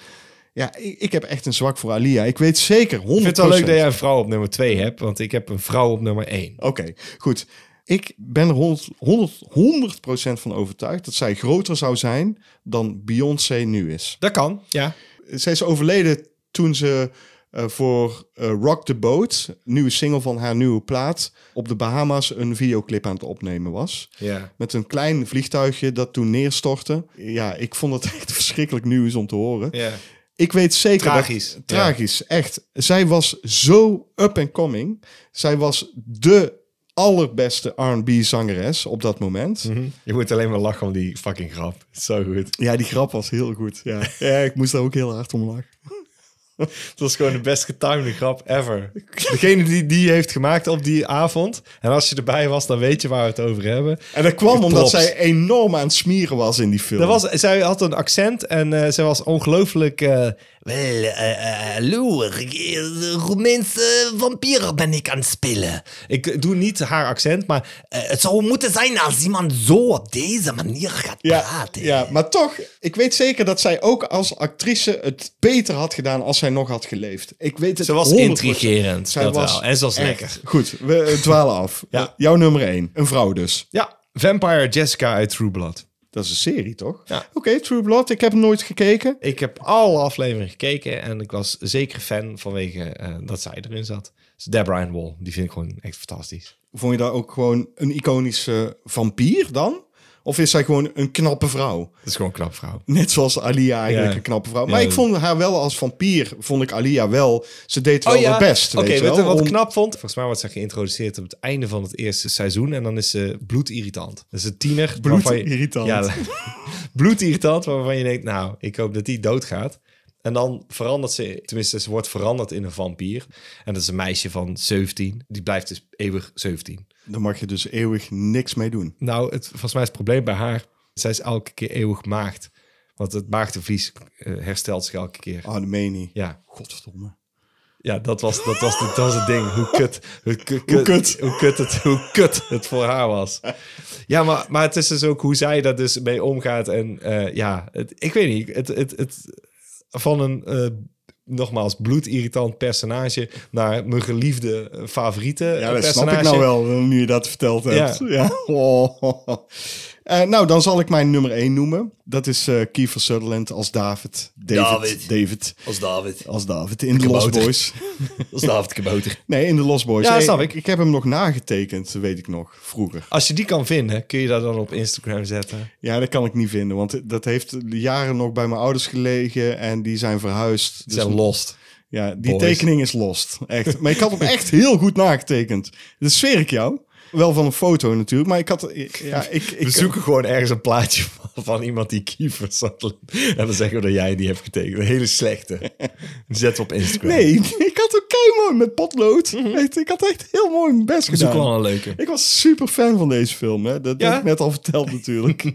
Ja, ik, ik heb echt een zwak voor Alia. Ik weet zeker 100%. Ik vind het wel leuk dat jij een vrouw op nummer 2 hebt. Want ik heb een vrouw op nummer 1. Oké, goed. Ik ben er 100, 100, 100% van overtuigd dat zij groter zou zijn dan Beyoncé nu is. Dat kan, ja. Zij is overleden toen ze eh, voor eh, Rock the Boat, nieuwe single van haar nieuwe plaat, op de Bahama's een videoclip aan het opnemen was. Ja. Met een klein vliegtuigje dat toen neerstortte. Ja, ik vond het echt verschrikkelijk nieuws om te horen. ja. Ik weet zeker... dat- Tragisch. tragisch, echt. Zij was zo up and coming. Zij was de allerbeste R&B zangeres op dat moment. Hm. Je moet alleen maar lachen om die fucking grap. Zo goed. Ja, die grap was heel goed. Ja. ja, ik moest daar ook heel hard om lachen. Het was gewoon de best getimede grap ever. Degene die die heeft gemaakt op die avond. En als je erbij was, dan weet je waar we het over hebben. En dat kwam omdat Props. zij enorm aan het smieren was in die film. Dat was, zij had een accent en eh, zij was ongelooflijk... eh, Wel, eh, eh, hallo, ik- eh, Roemeense vampieren ben ik aan het spelen. ik doe niet haar accent, maar... Eh, het zou moeten zijn als iemand zo op deze manier gaat ja, praten. ja, maar toch, ik weet zeker dat zij ook als actrice het beter had gedaan als zij nog had geleefd. Ik weet het Ze was 100%. intrigerend, Zij dat was wel. En ze was echt- lekker. Goed, we eh, dwalen af. Ja. Jouw nummer één, een vrouw dus. Ja, Vampire Jessica uit True Blood. Dat is een serie, toch? Ja. Oké, True Blood. Ik heb hem nooit gekeken. Ik heb alle afleveringen gekeken en ik was zeker fan vanwege eh, dat zij erin zat. Dus Deborah Ann Wall, die vind ik gewoon echt fantastisch. Vond je daar ook gewoon een iconische vampier dan? Of is zij gewoon een knappe vrouw? Dat is gewoon een knap vrouw. Net zoals Alia eigenlijk Ja. een knappe vrouw. Maar Ja. ik vond haar wel als vampier, vond ik Alia wel. Ze deed wel haar best, Oh Oké, weet je weet wel. je wat Om- ik knap vond? Volgens mij wordt ze geïntroduceerd op het einde van het eerste seizoen. En dan is ze bloedirritant. Dat is een tiener. waarvan je- Bloedirritant. Ja, bloedirritant, waarvan je denkt, nou, ik hoop dat die doodgaat. En dan verandert ze, tenminste, ze wordt veranderd in een vampier. En dat is een meisje van 17. Die blijft dus eeuwig 17. Daar mag je dus eeuwig niks mee doen. Nou, het, volgens mij is het probleem bij haar. Zij is elke keer eeuwig maagd. Want het maagdevlies eh, herstelt zich elke keer. Ah, de meen niet. Ja, Godverdomme. Ja, dat was, dat was, dat was het ding. Hoe kut, hoe kut, Hoe kut. hoe kut het, hoe kut het voor haar was. Ja, maar, maar het is dus ook hoe zij daar dus mee omgaat. En eh, ja, het, ik weet niet. Het, het, het, van een, eh, nogmaals, bloedirritant personage... naar mijn geliefde eh, favoriete Ja, eh, dat personage. snap ik nou wel, nu je dat verteld hebt. Ja. Ja. Oh. Eh, nou, dan zal ik mijn nummer 1 noemen. Dat is eh Kiefer Sutherland als David. David. David. David. Als David. Als David in de Lost kabouter. Boys. Als David Kabouter. Nee, in de Lost Boys. Ja, Nee, snap ik. Ik heb hem nog nagetekend, weet ik nog, vroeger. Als je die kan vinden, kun je dat dan op Instagram zetten. Ja, dat kan ik niet vinden, want dat heeft jaren nog bij mijn ouders gelegen en die zijn verhuisd. Dus Zijn lost. ja, die boys. tekening is lost. Echt. Maar ik had hem echt heel goed nagetekend. Dat zweer ik jou. Wel van een foto natuurlijk, maar ik had... Ja, ik, ik, We zoeken gewoon ergens een plaatje van, van iemand die Kiefer zat. En dan zeggen we dat jij die hebt getekend. Een hele slechte. Die zetten we op Instagram. Nee, ik had ook mooi met potlood. Echt, ik had echt heel mooi mijn best dat is ook wel gedaan. een leuke. Ik was super fan van deze film. Hè. Dat Ja? heb ik net al verteld natuurlijk.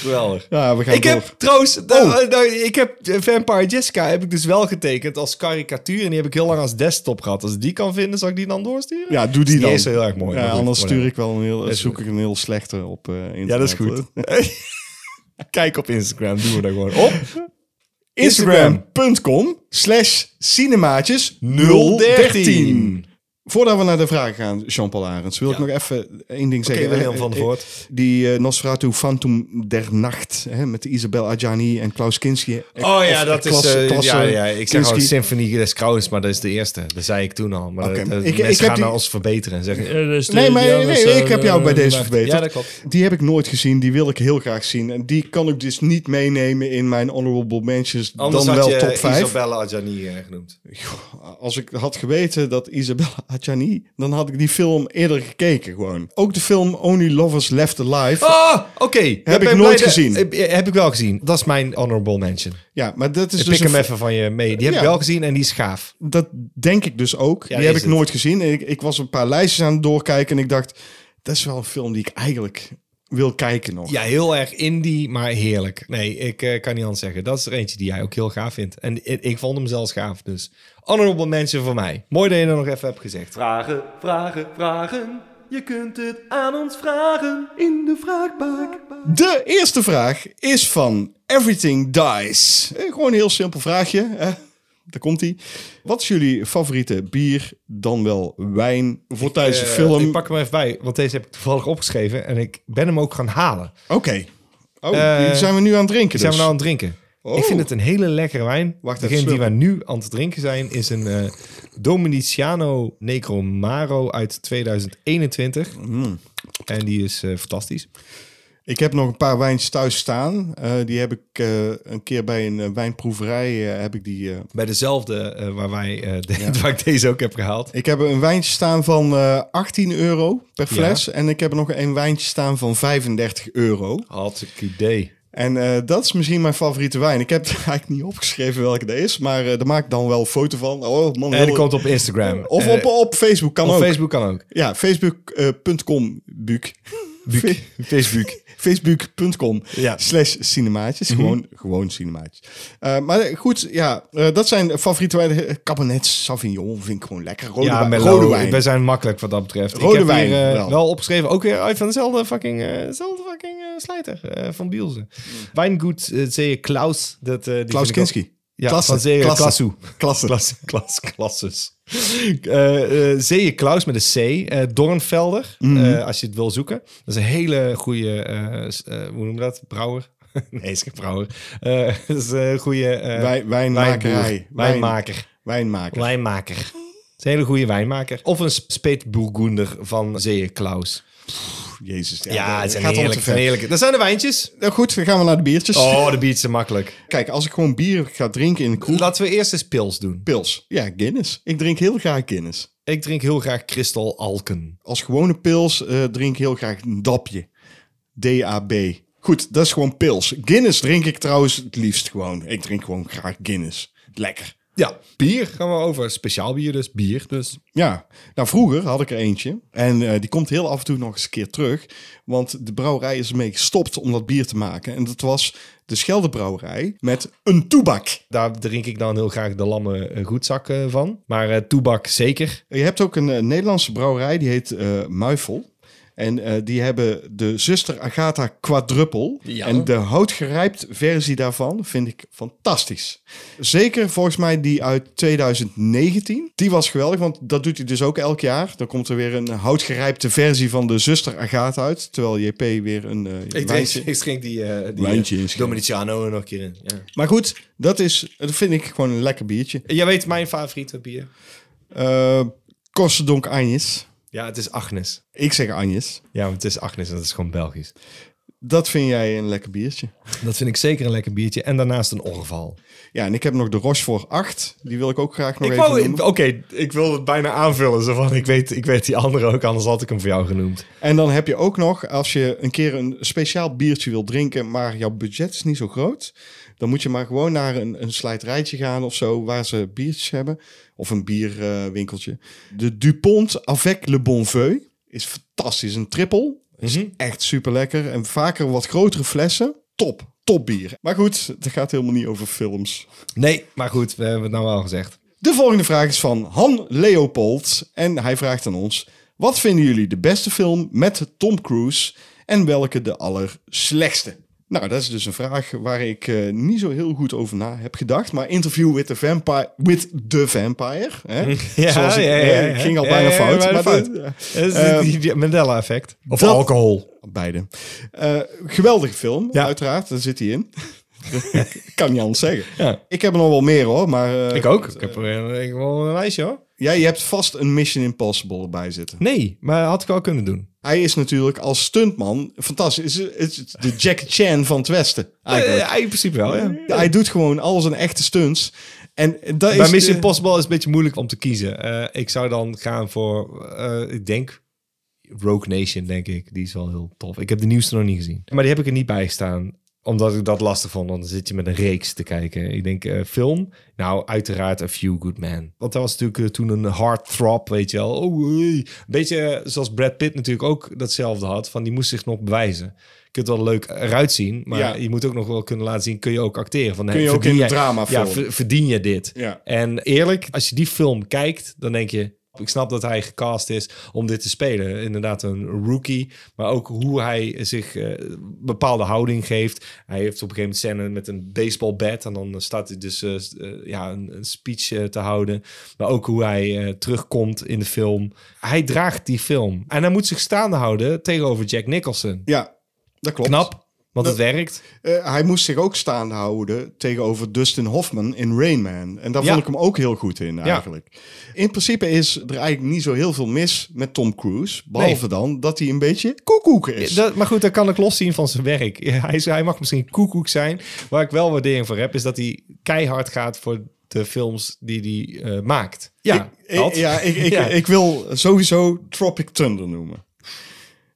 Geweldig. ja, we gaan Ik door. heb trouwens, d- Oh. eh, nou, ik heb eh, Vampire Jessica heb ik dus wel getekend als karikatuur. En die heb ik heel lang als desktop gehad. Als ik die kan vinden, zal ik die dan doorsturen? Ja, doe die Die dan. is heel erg mooi. Ja, maar goed, anders whatever. stuur ik wel een heel, Is zoek goed. ik een heel slechte op eh, internet. Ja, dat is goed. hoor. Kijk op Instagram, doen we daar gewoon op. Instagram.com slash cinemaatjes 013. Voordat we naar de vragen gaan, Jean-Paul Arends, wil ik nog even één ding Oké, zeggen. William van der Eh, eh, Voort. Die eh, Nosferatu Phantom der Nacht hè, met Isabel Adjani en Klaus Kinski. Oh ja, Of dat is... Klasse- eh, Klasse ja, ja, ik zeg Kinski. gewoon Symphony des Krauwens, maar dat is de eerste. Dat zei ik toen al. Maar Oké, dat- maar dat- ik- ik mensen heb gaan die- nou ons verbeteren en zeggen... eh, dat is de- Nee, maar die nee, anders, eh, ik heb jou bij eh, deze gemaakt. verbeterd. Ja, dat klopt. Die heb ik nooit gezien. Die wil ik heel graag zien. En die kan ik dus niet meenemen in mijn honorable mentions. Anders dan had wel je top 5. Isabella Adjani eh, genoemd. Als ik had geweten dat Isabella had jij niet, dan had ik die film eerder gekeken gewoon. Ook de film Only Lovers Left Alive. Oh, oké. Ah, ik ben nooit blij dat- gezien. Heb, heb ik wel gezien. Dat is mijn honorable mention. Ja, maar dat is Ik dus pik een hem even van je mee. Die heb Ja. ik wel gezien en die is gaaf. Dat denk ik dus ook. Ja, die heb is ik het. nooit gezien. Ik, ik was een paar lijstjes aan het doorkijken en ik dacht, dat is wel een film die ik eigenlijk wil kijken nog. Ja, heel erg indie, maar heerlijk. Nee, ik eh, kan niet anders zeggen. Dat is er eentje die jij ook heel gaaf vindt. En ik, ik vond hem zelfs gaaf, dus honorable mention voor mij. Mooi dat je dat nog even hebt gezegd. Vragen, vragen, vragen. Je kunt het aan ons vragen in de vraagbak. De eerste vraag is van Everything Dies. Eh, Gewoon een heel simpel vraagje. hè. daar komt hij. Wat is jullie favoriete bier, dan wel wijn, voor tijdens de Eh, film? Ik pak hem even bij, want deze heb ik toevallig opgeschreven. En ik ben hem ook gaan halen. Oké. Oh, Eh, die zijn we nu aan het drinken Die dus. zijn we nou aan het drinken. Oh. Ik vind het een hele lekkere wijn. Wacht even, Degene die we slurpen. nu aan het drinken zijn is een eh, Dominiciano Necromaro uit 2021. Mm. En die is eh, fantastisch. Ik heb nog een paar wijns thuis staan. Eh, die heb ik eh, een keer bij een eh, wijnproeverij eh, heb ik die eh, Bij dezelfde eh, waar, wij, eh, de- waar ik deze ook heb gehaald. Ik heb een wijntje staan van eh, 18 euro per Ja. fles. En ik heb er nog een wijntje staan van 35 euro. Had ik idee. En eh, dat is misschien mijn favoriete wijn. Ik heb er eigenlijk niet opgeschreven welke dat is. Maar eh daar maak ik dan wel een foto van. Oh, man, En heel- die Eh, komt op Instagram. Of Eh, op, op Facebook kan op ook. Facebook kan ook. Ja, facebook.com buuk. Buuk. Facebook. Facebook.com Ja. Mhm. slash cinemaatjes. Gewoon, gewoon cinemaatjes. Eh, maar goed, ja, eh, dat zijn favoriete wijnen. Eh, Cabernet Sauvignon vind ik gewoon lekker. Rode, ja, wijn- Merlot. rode wijn. We zijn makkelijk wat dat betreft. Rode ik heb wijn, hier, eh, wel. wel. opgeschreven. Ook weer uit van dezelfde fucking, eh, dezelfde fucking eh, slijter eh, van Bielsen. Wijngoed eh, Zeeën Klaus. Dat, eh, die Mm. Klaus vind ik ook- Kinski. Ja, Klasse, van Zeeën klasse. Klassu. Klasse. Klas, klas, klasses. Eh eh Zeeën Klaus met een C. eh Dornvelder, Mhm. eh, als je het wil zoeken. Dat is een hele goede, eh, s- eh, hoe noem je dat? Brouwer? nee, is geen brouwer. Eh, dat is een goede... eh, Wij- wijnmakerij. wijnboer. Wijn- Wijnmaker. Wijnmaker. Wijnmaker. Het is een hele goede wijnmaker. Of een speetbourgoender van Zeeën Klaus. Jezus. Ja, dat het zijn gaat al te heerlijke, ver. zijn heerlijke. Dat zijn de wijntjes. Nou goed, dan gaan we naar de biertjes. Oh, de biertjes zijn makkelijk. Kijk, als ik gewoon bier ga drinken in de kroeg... Laten we eerst eens pils doen. Pils. Ja, Guinness. Ik drink heel graag Guinness. Ik drink heel graag kristal alken. Als gewone pils eh, drink ik heel graag een dapje. DAB. Goed, dat is gewoon pils. Guinness drink ik trouwens het liefst gewoon. Ik drink gewoon graag Guinness. Lekker. Ja, bier gaan we over. Speciaal bier dus, bier dus. Ja, nou vroeger had ik er eentje. En eh, die komt heel af en toe nog eens een keer terug. Want de brouwerij is ermee gestopt om dat bier te maken. En dat was de Scheldebrouwerij met een toebak. Daar drink ik dan heel graag de lamme eh, goedzak eh, van. Maar eh, toebak zeker. Je hebt ook een eh, Nederlandse brouwerij, die heet eh Muifel. En eh, die hebben de zuster Agatha Quadruppel. Ja. En de houtgerijpt versie daarvan vind ik fantastisch. Zeker volgens mij die uit 2019. Die was geweldig, want dat doet hij dus ook elk jaar. Dan komt er weer een houtgerijpte versie van de zuster Agatha uit. Terwijl JP weer een eh wijntje... die, uh, Wijntje is- Dominiciano er nog een keer in. Ja. Maar goed, dat, is, dat vind ik gewoon een lekker biertje. Jij weet mijn favoriete bier. Eh Korsdonk Anjes. Ja, het is Agnes. Ik zeg Anjes. Ja, want het is Agnes en dat is gewoon Belgisch. Dat vind jij een lekker biertje. Dat vind ik zeker een lekker biertje. En daarnaast een orval. Ja, en ik heb nog de Rochefort 8. Die wil ik ook graag nog Ik even wou, ik- noemen. oké, ik wil het bijna aanvullen. Zo van, ik weet, ik weet die andere ook, anders had ik hem voor jou genoemd. En dan heb je ook nog, als je een keer een speciaal biertje wil drinken, maar jouw budget is niet zo groot, dan moet je maar gewoon naar een, een slijterijtje gaan of zo, waar ze biertjes hebben. Of een bierwinkeltje. de Dupont avec le Bonfeu is fantastisch. Een triple. Is Mhm. echt super lekker. En vaker wat grotere flessen. Top. Top bier. Maar goed, het gaat helemaal niet over films. Nee, maar goed, we hebben het nou wel gezegd. De volgende vraag is van Han Leopold. En hij vraagt aan ons: Wat vinden jullie de beste film met Tom Cruise? En welke de allerslechtste? Nou, dat is dus een vraag waar ik eh, niet zo heel goed over na heb gedacht. Maar Interview with the Vampire. With the Vampire hè? Ja, Zoals ik, ja, ja, eh, ja. ik ging al Ja, bijna ja, Ehm, fout. bijna maar fout. dat- Het is die Mandela-effect. Of dat- alcohol. beide. Eh, geweldige film, Ja. uiteraard. Daar zit hij in. kan niet anders zeggen. Ja. Ik heb er nog wel meer hoor. Maar, eh, Ik ook. Ik heb er een, ik heb wel een lijstje hoor. Jij hebt vast een Mission Impossible erbij zitten. Nee, maar had ik wel kunnen doen. Hij is natuurlijk als stuntman fantastisch. Het is het is de Jack Chan van het Westen. Eh, Eigenlijk. ja, in principe wel, ja. Hij doet gewoon alles een echte stunts. En dat Bij is Mission de- Impossible is het een beetje moeilijk om te kiezen. Eh, ik zou dan gaan voor, eh, ik denk, Rogue Nation, denk ik. Die is wel heel tof. Ik heb de nieuwste nog niet gezien. Maar die heb ik er niet bij staan, omdat ik dat lastig vond. Want dan zit je met een reeks te kijken. Ik denk, eh, film? Nou, uiteraard A Few Good Men. Want dat was natuurlijk eh, toen een heartthrob, weet je wel. Oh, hey. Een beetje eh, zoals Brad Pitt natuurlijk ook datzelfde had. Van, die moest zich nog bewijzen. Je kunt wel leuk eruit zien, maar Ja. je moet ook nog wel kunnen laten zien... kun je ook acteren. Van, Kun je ook verdien in jij- een dramafilm. Ja, ver- verdien je dit? Ja. En eerlijk, als je die film kijkt, dan denk je... Ik snap dat hij gecast is om dit te spelen. Inderdaad, een rookie. Maar ook hoe hij zich eh, bepaalde houding geeft. Hij heeft op een gegeven moment scène met een baseballbat. En dan staat hij dus eh, s- eh, ja, een, een speech eh, te houden. Maar ook hoe hij eh, terugkomt in de film. Hij draagt die film. En hij moet zich staande houden tegenover Jack Nicholson. Ja, dat klopt. Knap, want het werkt. Eh, hij moest zich ook staande houden tegenover Dustin Hoffman in Rain Man. En daar Ja. vond ik hem ook heel goed in eigenlijk. In principe is er eigenlijk niet zo heel veel mis met Tom Cruise. Behalve Nee. dan dat hij een beetje koekoek is. Ja, dat- maar goed, dat kan ik loszien van zijn werk. Ja, Hij, is- hij mag misschien koekoek zijn. Waar ik wel waardering voor heb, is dat hij keihard gaat voor de films die hij eh, maakt. Ja, ik, dat. ik- ja, ik, ik, Ja. ik wil sowieso Tropic Thunder noemen.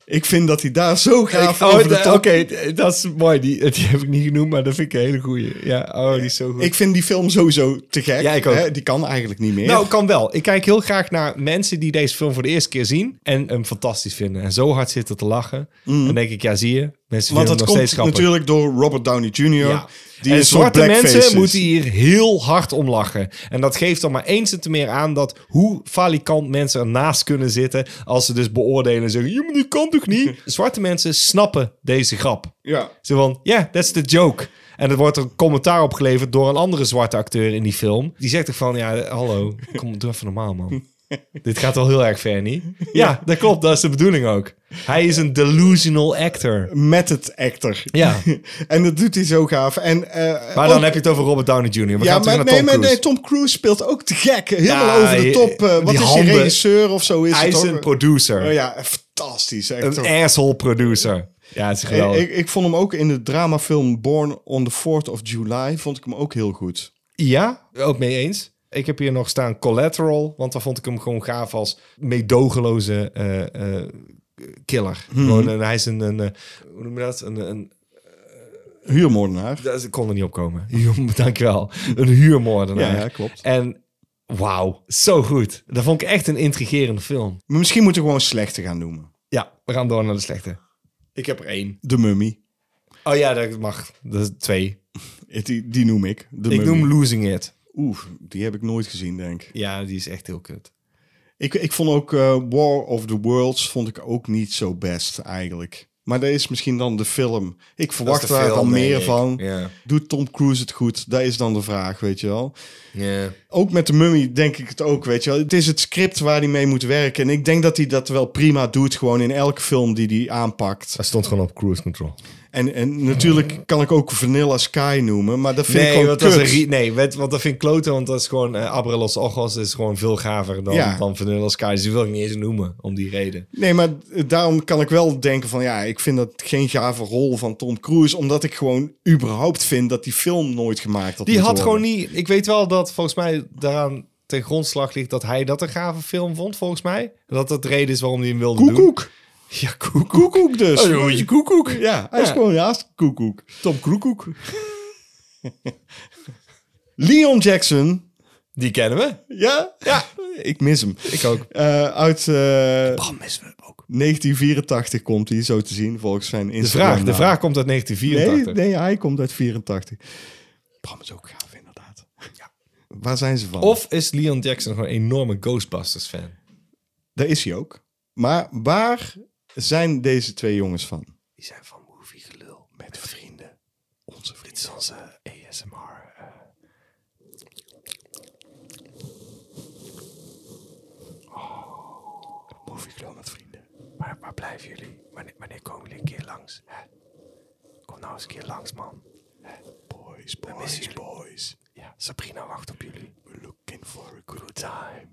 Ik vind dat hij daar zo gaaf Ik- oh, over de de- top... Oké, d- dat is mooi. Die, die heb ik niet genoemd, maar dat vind ik een hele goeie. Ja, oh, die is zo goed. Ik vind die film sowieso te gek. Ja, ik ook. Hè, Die kan eigenlijk niet meer. nou, kan wel. Ik kijk heel graag naar mensen die deze film voor de eerste keer zien en hem fantastisch vinden. En zo hard zitten te lachen. Dan denk ik, ja, zie je. Mensen Want vinden dat hem nog steeds komt grappig. natuurlijk door Robert Downey Jr. Ja. Die en een soort zwarte blackface mensen is. moeten hier heel hard om lachen. En dat geeft dan maar eens en te meer aan dat hoe falikant mensen ernaast kunnen zitten als ze dus beoordelen en zeggen, ja, maar dit kan toch niet? zwarte mensen snappen deze grap. Ja. Zo van, ja, that's the joke. En er wordt een commentaar opgeleverd door een andere zwarte acteur in die film. Die zegt toch van, ja, hallo, kom, doe even normaal, man. Dit gaat wel heel erg ver, niet? Ja, dat klopt. Dat is de bedoeling ook. Hij is een delusional actor. Met het actor. Ja. en dat doet hij zo gaaf. En, eh, Maar dan ook- heb je het over Robert Downey Jr. We ja, gaan terug maar naar nee, Tom maar Cruise. nee, Tom Cruise speelt ook te gek. Helemaal Ja, over de je- top. eh, wat die is hij, handen. regisseur of zo? Is Hij het is ook? een producer. Oh ja, fantastisch. Echt, Een hoor. asshole producer. Ja, het is ik, geweldig. Eh, ik, ik vond hem ook in de dramafilm Born on the 4th of July. Vond ik hem ook heel goed. ja, ook mee eens. Ik heb hier nog staan Collateral, want daar vond ik hem gewoon gaaf als meedogenloze eh, eh, killer. Mhm. Gewoon, een- hij is een, een, eh, hoe noem je dat? Een, een, Huurmoordenaar. dat- ik kon er niet op komen. Huur- Dankjewel. Een huurmoordenaar. Ja, ja, klopt. En wauw, zo goed. Dat vond ik echt een intrigerende film. Maar misschien moeten we gewoon slechte gaan noemen. Ja, we gaan door naar de slechte. Ik heb er één. De Mummy. Oh ja, dat mag. Dat is twee. Die, die noem ik. De ik noem Losing It. Oeh, die heb ik nooit gezien, denk ik. Ja, die is echt heel kut. Ik, ik vond ook eh, War of the Worlds vond ik ook niet zo best eigenlijk. Maar dat is misschien dan de film. Ik verwacht de daar film, dan denk meer ik. van. Ja. Doet Tom Cruise het goed? Dat is dan de vraag, weet je wel. Ja. Ook met de mummy denk ik het ook, weet je wel. Het is het script waar hij mee moet werken. En ik denk dat hij dat wel prima doet, gewoon in elke film die hij aanpakt. Hij stond gewoon op cruise control. En, en natuurlijk kan ik ook Vanilla Sky noemen, maar dat vind ik gewoon want dat, is een kut. re- nee want- want dat vind ik kloten, want dat is gewoon... eh Abrelos Ojos is gewoon veel gaver dan, Ja. dan Vanilla Sky. Dus die wil ik niet eens noemen, om die reden. Nee, maar daarom kan ik wel denken van ja, ik vind dat geen gave rol van Tom Cruise, omdat ik gewoon überhaupt vind dat die film nooit gemaakt had. Die moeten had gewoon worden. niet... Ik weet wel dat volgens mij daaraan ten grondslag ligt dat hij dat een gave film vond, volgens mij. Dat dat de reden is waarom hij hem wilde doen. koekoek, Ja, koekoek. koekoek dus. Oh, jongetje, koekoek. Ja, hij is Ja. gewoon haast koekoek. Tom Kroekoek. Leon Jackson, Die kennen we. ja, ja, ik mis hem. Ik ook. Eh, uit eh, Bram missen we ook. 1984 komt hij zo te zien volgens zijn De Instagram. vraag, de vraag komt uit Nee, 1984. nee, hij komt uit 84. Bram is ook gaaf inderdaad. Waar zijn ze van? Of is Leon Jackson gewoon een enorme Ghostbusters-fan? Daar is hij ook. Maar waar zijn deze twee jongens van? Die zijn van movie gelul. Met vrienden. Onze vrienden. is onze ASMR. Oh, Movie Club met vrienden. Waar, waar blijven jullie? Wanneer, wanneer komen jullie een keer langs? Hè? Kom nou eens een keer langs, man. Boys, boys, boys. Ja, Sabrina wacht op jullie. We're looking for a good time.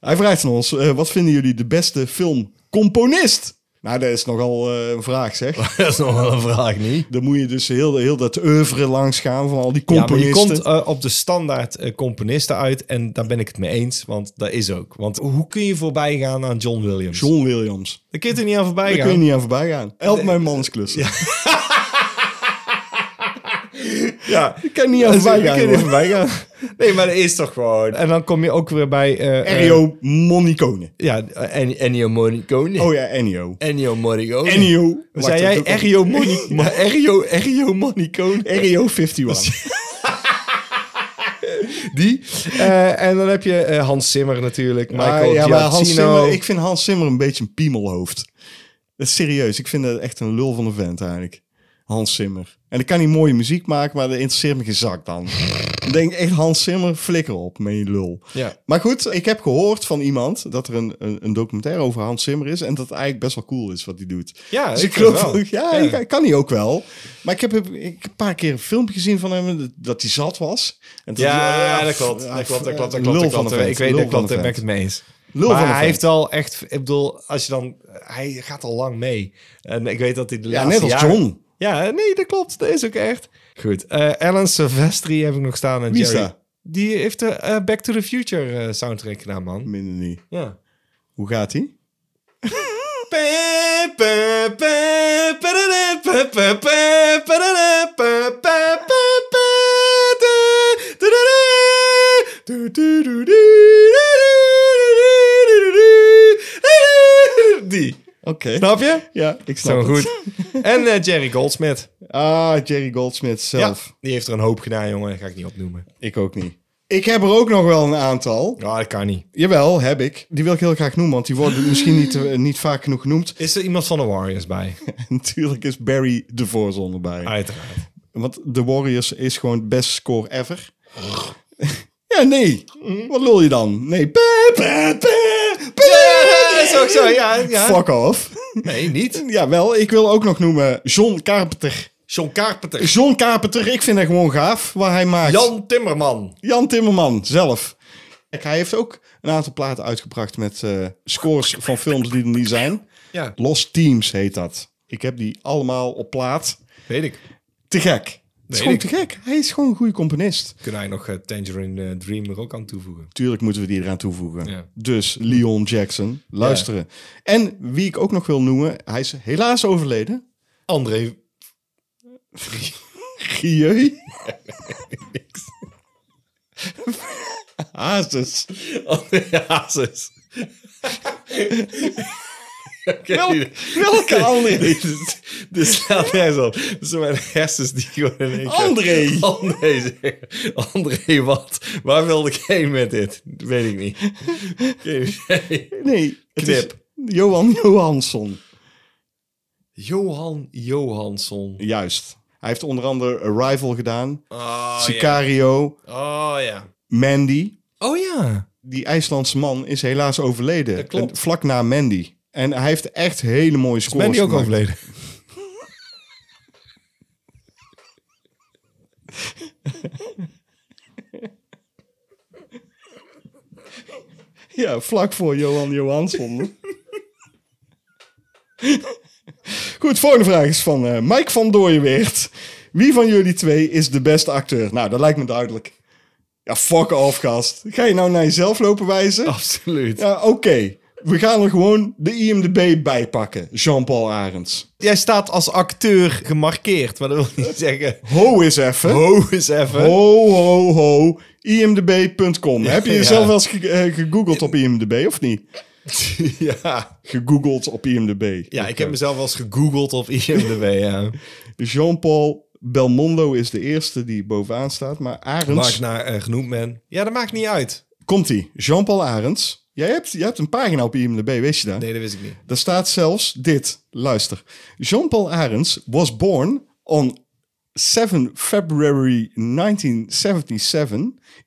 Hij vraagt aan ons, eh, wat vinden jullie de beste filmcomponist? Nou, dat is nogal eh, een vraag, zeg. Dat is nog wel een vraag, niet? Dan moet je dus heel, heel dat oeuvre langs gaan van al die Ja, maar componisten. je komt eh, op de standaard eh, componisten uit. En daar ben ik het mee eens, want dat is ook. Want hoe kun je voorbij gaan aan John Williams? John Williams. Daar kun je er niet aan voorbij Daar gaan. kun je niet aan voorbij gaan. Help mijn mansklussen. Ja. Ik kan niet aan voorbij Daar kun je gaan. niet hoor. voorbij gaan. Nee, maar dat is toch gewoon... En dan kom je ook weer bij... eh, eh, Ennio Morricone. ja, eh, en, Ennio Morricone. Oh ja, Ennio. Ennio Morricone. Ennio. zei jij Erio Moni- Ma- Erio- Erio Monicone? Rio 51. Die. Eh, en dan heb je eh, Hans Zimmer natuurlijk. Michael Maar, Ah, ja, maar Hans Giacchino. Zimmer, ik vind Hans Zimmer een beetje een piemelhoofd. Dat is serieus. Ik vind dat echt een lul van een vent eigenlijk. Hans Zimmer. En ik kan niet mooie muziek maken, maar dat interesseert me geen zak dan. Dan denk ik echt, Hans Zimmer, flikker op met je lul. Ja. Maar goed, ik heb gehoord van iemand dat er een, een, een documentaire over Hans Zimmer is. En dat het eigenlijk best wel cool is wat hij doet. Ja, dus ik ik geloof wel. ook- ja, Ja. ik- ik kan hij ook wel. Maar ik heb, ik heb een paar keer een filmpje gezien van hem dat- dat hij zat was. En dat hij- Ja, ah, dat klopt. ah, Dat klopt, dat eh, klopt, dat lul klopt. dat van klopt. een vent, Ik weet, lul dat van klopt, een daar ben ik het vent. mee eens. Lul maar van een hij vent. heeft al echt, ik bedoel, als je dan, hij gaat al lang mee. En ik weet dat hij de Ja, laatste net als jaren- John. Ja, nee, dat klopt. Dat is ook echt. Goed. Eh Alan Silvestri heb ik nog staan. En Wie is Jerry. dat? Die heeft de eh, Back to the Future eh, soundtrack gedaan, man. Minder niet. Ja. Hoe gaat hij? Die. Oké. Snap je? Ja, ik snap Zo het. goed. En eh, Jerry Goldsmith. Ah, Jerry Goldsmith zelf. Ja, die heeft er een hoop gedaan, jongen. Dat ga ik niet opnoemen. Ik ook niet. Ik heb er ook nog wel een aantal. Ja, dat kan niet. Jawel, heb ik. Die wil ik heel graag noemen, want die worden misschien niet, eh, niet vaak genoeg genoemd. Is er iemand van de Warriors bij? Natuurlijk is Barry de voorzon erbij. Uiteraard. Want The Warriors is gewoon het best score ever. ja, nee. Wat lul je dan? Nee. Pe- pe- pe- pe- Ja, is ook zo. Ja, ja. Fuck off. Nee, niet. Ja, wel. Ik wil ook nog noemen John Carpenter. John Carpenter. John Carpenter, ik vind dat gewoon gaaf wat hij maakt. Jan Timmerman. Jan Timmerman zelf. Kijk, hij heeft ook een aantal platen uitgebracht met eh, scores van films die er niet zijn. Ja, Lost Teams heet dat. Ik heb die allemaal op plaat. weet ik. Te gek. Het is Weet gewoon ik. te gek. Hij is gewoon een goede componist. Kunnen wij nog eh, Tangerine eh, Dream er ook aan toevoegen? Tuurlijk moeten we die eraan toevoegen. Ja. Dus Leon Jackson, luisteren. En wie ik ook nog wil noemen, hij is helaas overleden. André. Gieu. Hazes. André Hazes. Welke, welke andere? Dit is- Dit slaat nergens op. Dit zijn mijn hersens die gewoon in één keer- André. André zeggen. André wat? Waar wilde ik heen met dit? Weet ik niet. Geen idee. Nee, het is Knip. Johan Johansson. Johan Johansson. Juist. Hij heeft onder andere Arrival gedaan, Oh Sicario, ja. Oh ja. Mandy. Oh ja. Die IJslandse man is helaas overleden. Dat klopt. En Vlak na Mandy. En hij heeft echt hele mooie scores Ben die ook gemaakt. overleden? Ja, vlak voor Johan Johansson. Goed, volgende vraag is van eh, Mike van Dooyenweert. Wie van jullie twee is de beste acteur? Nou, dat lijkt me duidelijk. Ja, fuck off, gast. Ga je nou naar jezelf lopen wijzen? Absoluut. Ja, oké. We gaan er gewoon de IMDB bij pakken. Jean-Paul Arends. Jij staat als acteur gemarkeerd, maar dat wil niet zeggen. Ho is even. Ho, Ho eens even. ho, ho. IMDB.com. Heb je Ja. jezelf wel eens ge- eh, gegoogeld op IMDB, of niet? ja. Gegoogeld op IMDB. ja, ik heb mezelf wel eens gegoogeld op IMDb. Ja. Jean-Paul Belmondo is de eerste die bovenaan staat. Maar Waar ik Arends... naar eh, genoemd ben. Ja, dat maakt niet uit. Komt-ie. Jean-Paul Arends. Jij hebt, jij hebt een pagina op IMDB, weet je dat? Nee, dat wist ik niet. Daar staat zelfs dit. Luister. Jean-Paul Arends was born on 7 February 1977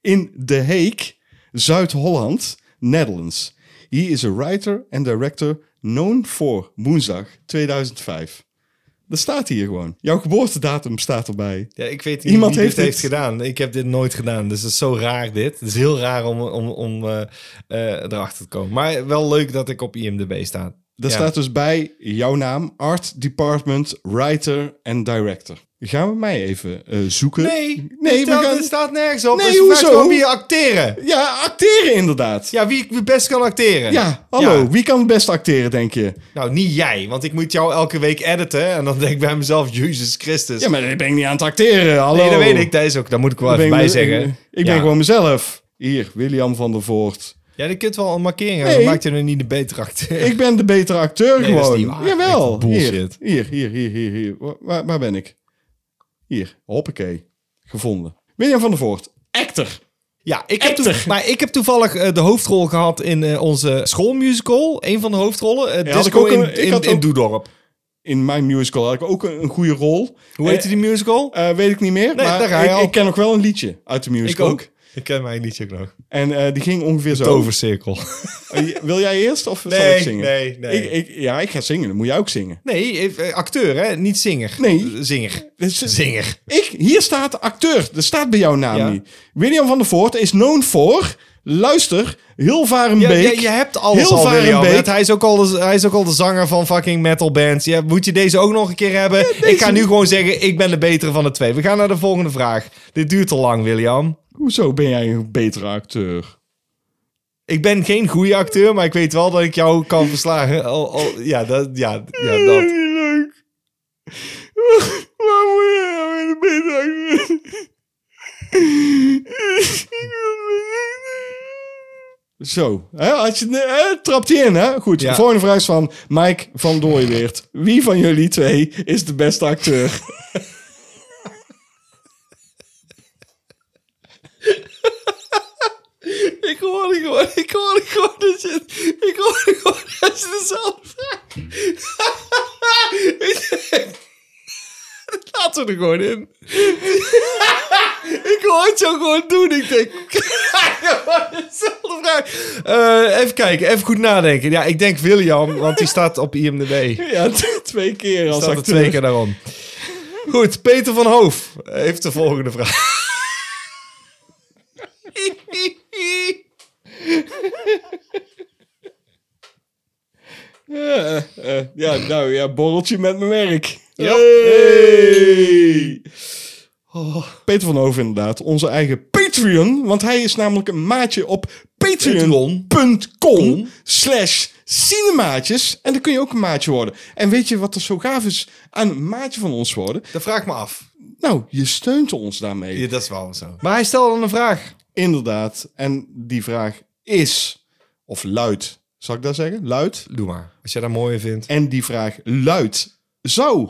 in The Hague, Zuid-Holland, Netherlands. He is a writer and director known for Woensdag 2005. Dat staat hier gewoon. Jouw geboortedatum staat erbij. Ja, ik weet niet Iemand wie heeft dit heeft dit- gedaan. Ik heb dit nooit gedaan. Dus het is zo raar dit. Het is heel raar om, om, om eh, eh, erachter te komen. Maar wel leuk dat ik op IMDb sta. Daar Ja. staat dus bij jouw naam, Art Department, Writer en Director. Gaan we mij even eh, zoeken? Nee, dus nee, nee, we gaan... het staat nergens op. Nee, Het is vraagt hoezo? gewoon wie je acteren. Ja, acteren inderdaad. Ja, Ja, wie het best kan acteren. hallo. Ja. Wie kan het best acteren, denk je? Nou, niet jij, want ik moet jou elke week editen. En dan denk ik bij mezelf, Jezus Christus. Ja, maar ik ben ik niet aan het acteren, hallo. nee, dat weet ik. Dat is ook, daar moet ik wel Ik even ben- bij ik- zeggen. Ik, ja. ben gewoon mezelf. Hier, William van der Voort. Ja, je kunt wel een markering Nee. hebben, maar maakt je er niet de betere acteur. Ik ben de betere acteur Nee, dat is gewoon. niet waar. Jawel. Echt bullshit. Hier, hier, hier, hier, hier. hier. Wa- Waar, waar ben ik? Hier, hoppakee. Gevonden. William van der Voort, actor. Ja, ik heb, toe- maar ik heb toevallig eh, de hoofdrol gehad in eh, onze schoolmusical. Een van de hoofdrollen. eh Ja, had ik Disco ook in, een- ik in, had in ook- Doedorp. In mijn musical had ik ook een, een goede rol. Hoe heette die musical? Eh, weet ik niet meer, Nee, daar ga maar je ik, al. ik ken ook wel een liedje uit de musical. Ik ken mijn liedje ook nog. En eh, die ging ongeveer zo. Tovercirkel. Eh, Wil jij eerst of zal Nee, ik zingen? nee, nee. Ik, ik, ja, ik ga zingen. Dan moet jij ook zingen. Nee, eh, acteur hè, niet zinger. Nee. Eh, Zinger. Dus, Zinger. ik, hier staat acteur. Dat staat bij jouw naam Ja. niet. William van der Voort is known voor... Luister, Ja, Hilvarenbeek. ja, je hebt alles Heel al, William. Varenbeek. Het- Hij is, ook al de, hij is ook al de zanger van fucking metal bands. Ja, moet je deze ook nog een keer hebben? Ik ga nu gewoon zeggen, ik ben de betere van de twee. We gaan naar de volgende vraag. Dit duurt te lang, William. Hoezo ben jij een betere acteur? Ik ben geen goede acteur, maar ik weet wel dat ik jou kan verslagen. Al- al- ja, dat, ja, ja, dat. niet leuk. Waar moet je nou in de bed hangen? Zo, hè? Had je, hè? trapt hij in, hè? Goed, Ja. de volgende vraag is van Mike van Dooiweert. Wie van jullie twee is de beste acteur? Ik hoorde gewoon, ik hoorde gewoon dat je, ik hoorde gewoon dat je dezelfde vraag. Laten we er gewoon in. ik hoor het zo gewoon doen. Ik denk, gewoon dezelfde vraag. Eh, even kijken, even goed nadenken. Ja, ik denk William, want die staat op IMDb. Ja, t- twee keer als Staat er acteur. twee keer daarom. Goed, Peter van Hoof heeft de volgende vraag. Ja, eh, eh, ja, nou ja, borreltje met mijn werk. Ja. Hey! Oh, Peter van Hoven inderdaad, onze eigen Patreon. Want hij is namelijk een maatje op patreon.com slash cinemaatjes. En dan kun je ook een maatje worden. En weet je wat er zo gaaf is aan een maatje van ons worden? Dat vraag ik me af. Nou, je steunt ons daarmee. Ja, dat is wel zo. Maar hij stelde dan een vraag. Inderdaad. En die vraag is, of luidt, zal ik dat zeggen? Luid. Doe maar. Als jij dat mooier vindt. En die vraag luidt: zou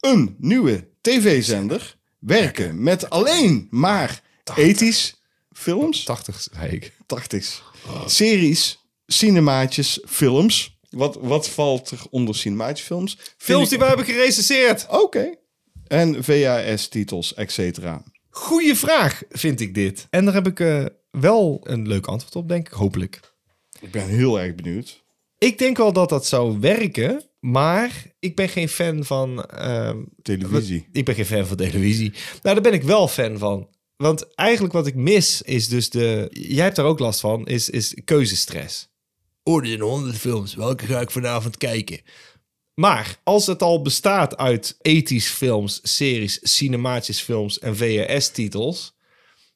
een nieuwe tv-zender werken met alleen maar ethisch films, 80, zei ik. 80 series, cinemaatjes, films? Wat, wat valt er onder cinemaatjes films? Vind Films ik- die we hebben gerecenseerd. Oké. En VHS-titels, et cetera. Goeie vraag, vind ik dit. En daar heb ik eh, wel een leuk antwoord op, denk ik. Hopelijk. Ik ben heel erg benieuwd. Ik denk wel dat dat zou werken. Maar ik ben geen fan van... ehm, Televisie. Ik ben geen fan van televisie. Nou, daar ben ik wel fan van. Want eigenlijk wat ik mis is dus de... Jij hebt daar ook last van, is, is keuzestress. Oh, er zijn honderd films. Welke ga ik vanavond kijken? Maar als het al bestaat uit ethisch films, series, cinematische films en VHS-titels,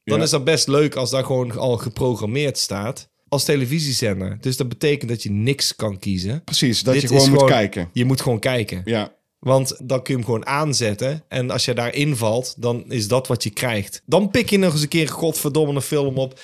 dan Ja. is dat best leuk als daar gewoon al geprogrammeerd staat als televisiezender. Dus dat betekent dat je niks kan kiezen. Precies, dat Dit je is gewoon moet kijken. Je moet gewoon kijken. Ja, Want dan kun je hem gewoon aanzetten. En als je daarin valt, dan is dat wat je krijgt. Dan pik je nog eens een keer godverdomme een film op.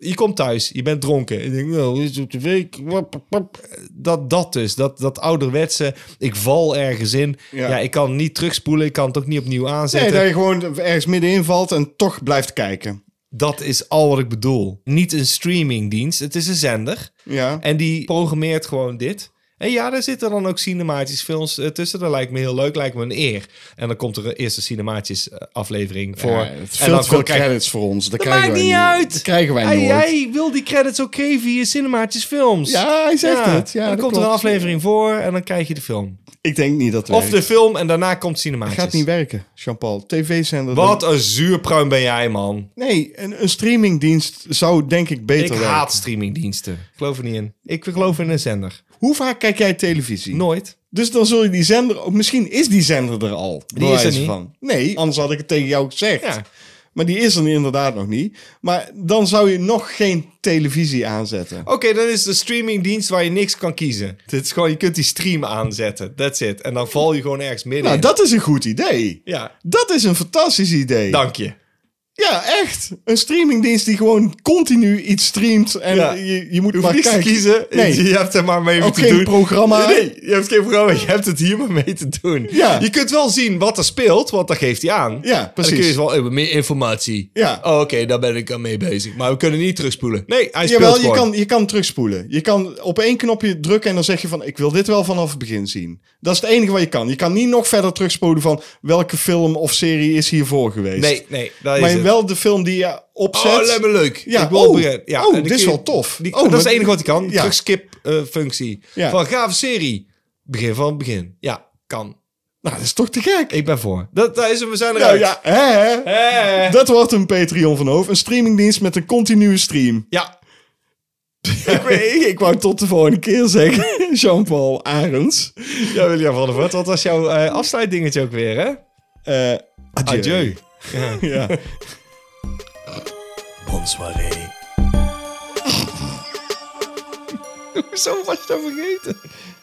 Je komt thuis, je bent dronken. Je denkt, nou, dit is op de week. Wap, wap, wap. Dat, dat dus, dat, dat ouderwetse, ik val ergens in. Ja. Ja. ik kan niet terugspoelen, ik kan het ook niet opnieuw nee, aanzetten. dat je gewoon ergens middenin valt en toch blijft kijken. Dat is al wat ik bedoel. Niet een streamingdienst, het is een zender. Ja. En die programmeert gewoon dit. En ja, daar zitten dan ook cinematische films eh, tussen. Dat lijkt me heel leuk, lijkt me een eer. En dan komt er een eerste cinematische eh, aflevering voor. Ja, en het is veel dan te veel krijg- credits voor ons. Dat, Dat krijgen maakt wij niet uit. Dat krijgen wij Hey, nooit. jij wil die credits ook geven je cinematische films. Ja, hij zegt Ja. het. Ja, en dan dat komt er een klopt. aflevering voor en dan krijg je de film. Ik denk niet dat het Of de film en daarna komt cinematisch. gaat niet werken, Jean-Paul. TV-zender. Wat een zuurpruim ben jij, man. Nee, een, een streamingdienst zou denk ik beter Ik werken. haat streamingdiensten. Ik geloof er niet in. Ik geloof in een zender. Hoe vaak kijk jij televisie? Nooit. Dus dan zul je die zender... of Misschien is die zender er al. bij Die is er wijze niet. Van. Nee, anders had ik het tegen jou gezegd. Ja. Maar die is er inderdaad nog niet. Maar dan zou je nog geen televisie aanzetten. Oké, dan is de streamingdienst waar je niks kan kiezen. Dit is gewoon, je kunt die stream aanzetten. That's it. En dan val je gewoon ergens midden nou, in. dat is een goed idee. Ja, Dat is een fantastisch idee. dank je. Ja, echt. Een streamingdienst die gewoon continu iets streamt. En Ja. je, je moet Je hoeft maar niks te kijken. kiezen. Nee. Je hebt er maar mee Ook te geen doen. programma. Nee, je hebt geen programma. Je hebt het hier maar mee te doen. Ja. Je kunt wel zien wat er speelt, want dat geeft hij aan. Ja, En dan kun precies. je wel eh, meer informatie. Ja. Oh, Oké, daar ben ik aan mee bezig. Maar we kunnen niet terugspoelen. Nee, hij speelt Jawel, je gewoon. kan, je kan terugspoelen. Je kan op één knopje drukken en dan zeg je van... ik wil dit wel vanaf het begin zien. Dat is het enige wat je kan. Je kan niet nog verder terugspoelen van... welke film of serie is hiervoor geweest. Nee, nee, dat maar is het. wel de film die je opzet. Oh, lijkt me leuk. Ja, ik wil oh, begrijpen. ja, oh, en dan dit is kun je- wel tof. die- Oh, dat is maar- het enige wat ik kan. Ja. Terugskip eh, functie. Ja. Van gave serie. Begin van het begin. Ja, kan. Nou, dat is toch te gek. Ik ben voor. Dat, dat is hem, we zijn Nou eruit. ja, hè, hè. Eh. Dat wordt een Patreon van Hoof. Een streamingdienst met een continue stream. ja. ik, weet- ik wou tot de volgende keer zeggen. Jean-Paul Arends. Ja, William van der Voort, wat was jouw eh, afsluitdingetje ook weer, hè? Eh, adieu. Adieu. Ja. Zo was je dat vergeten.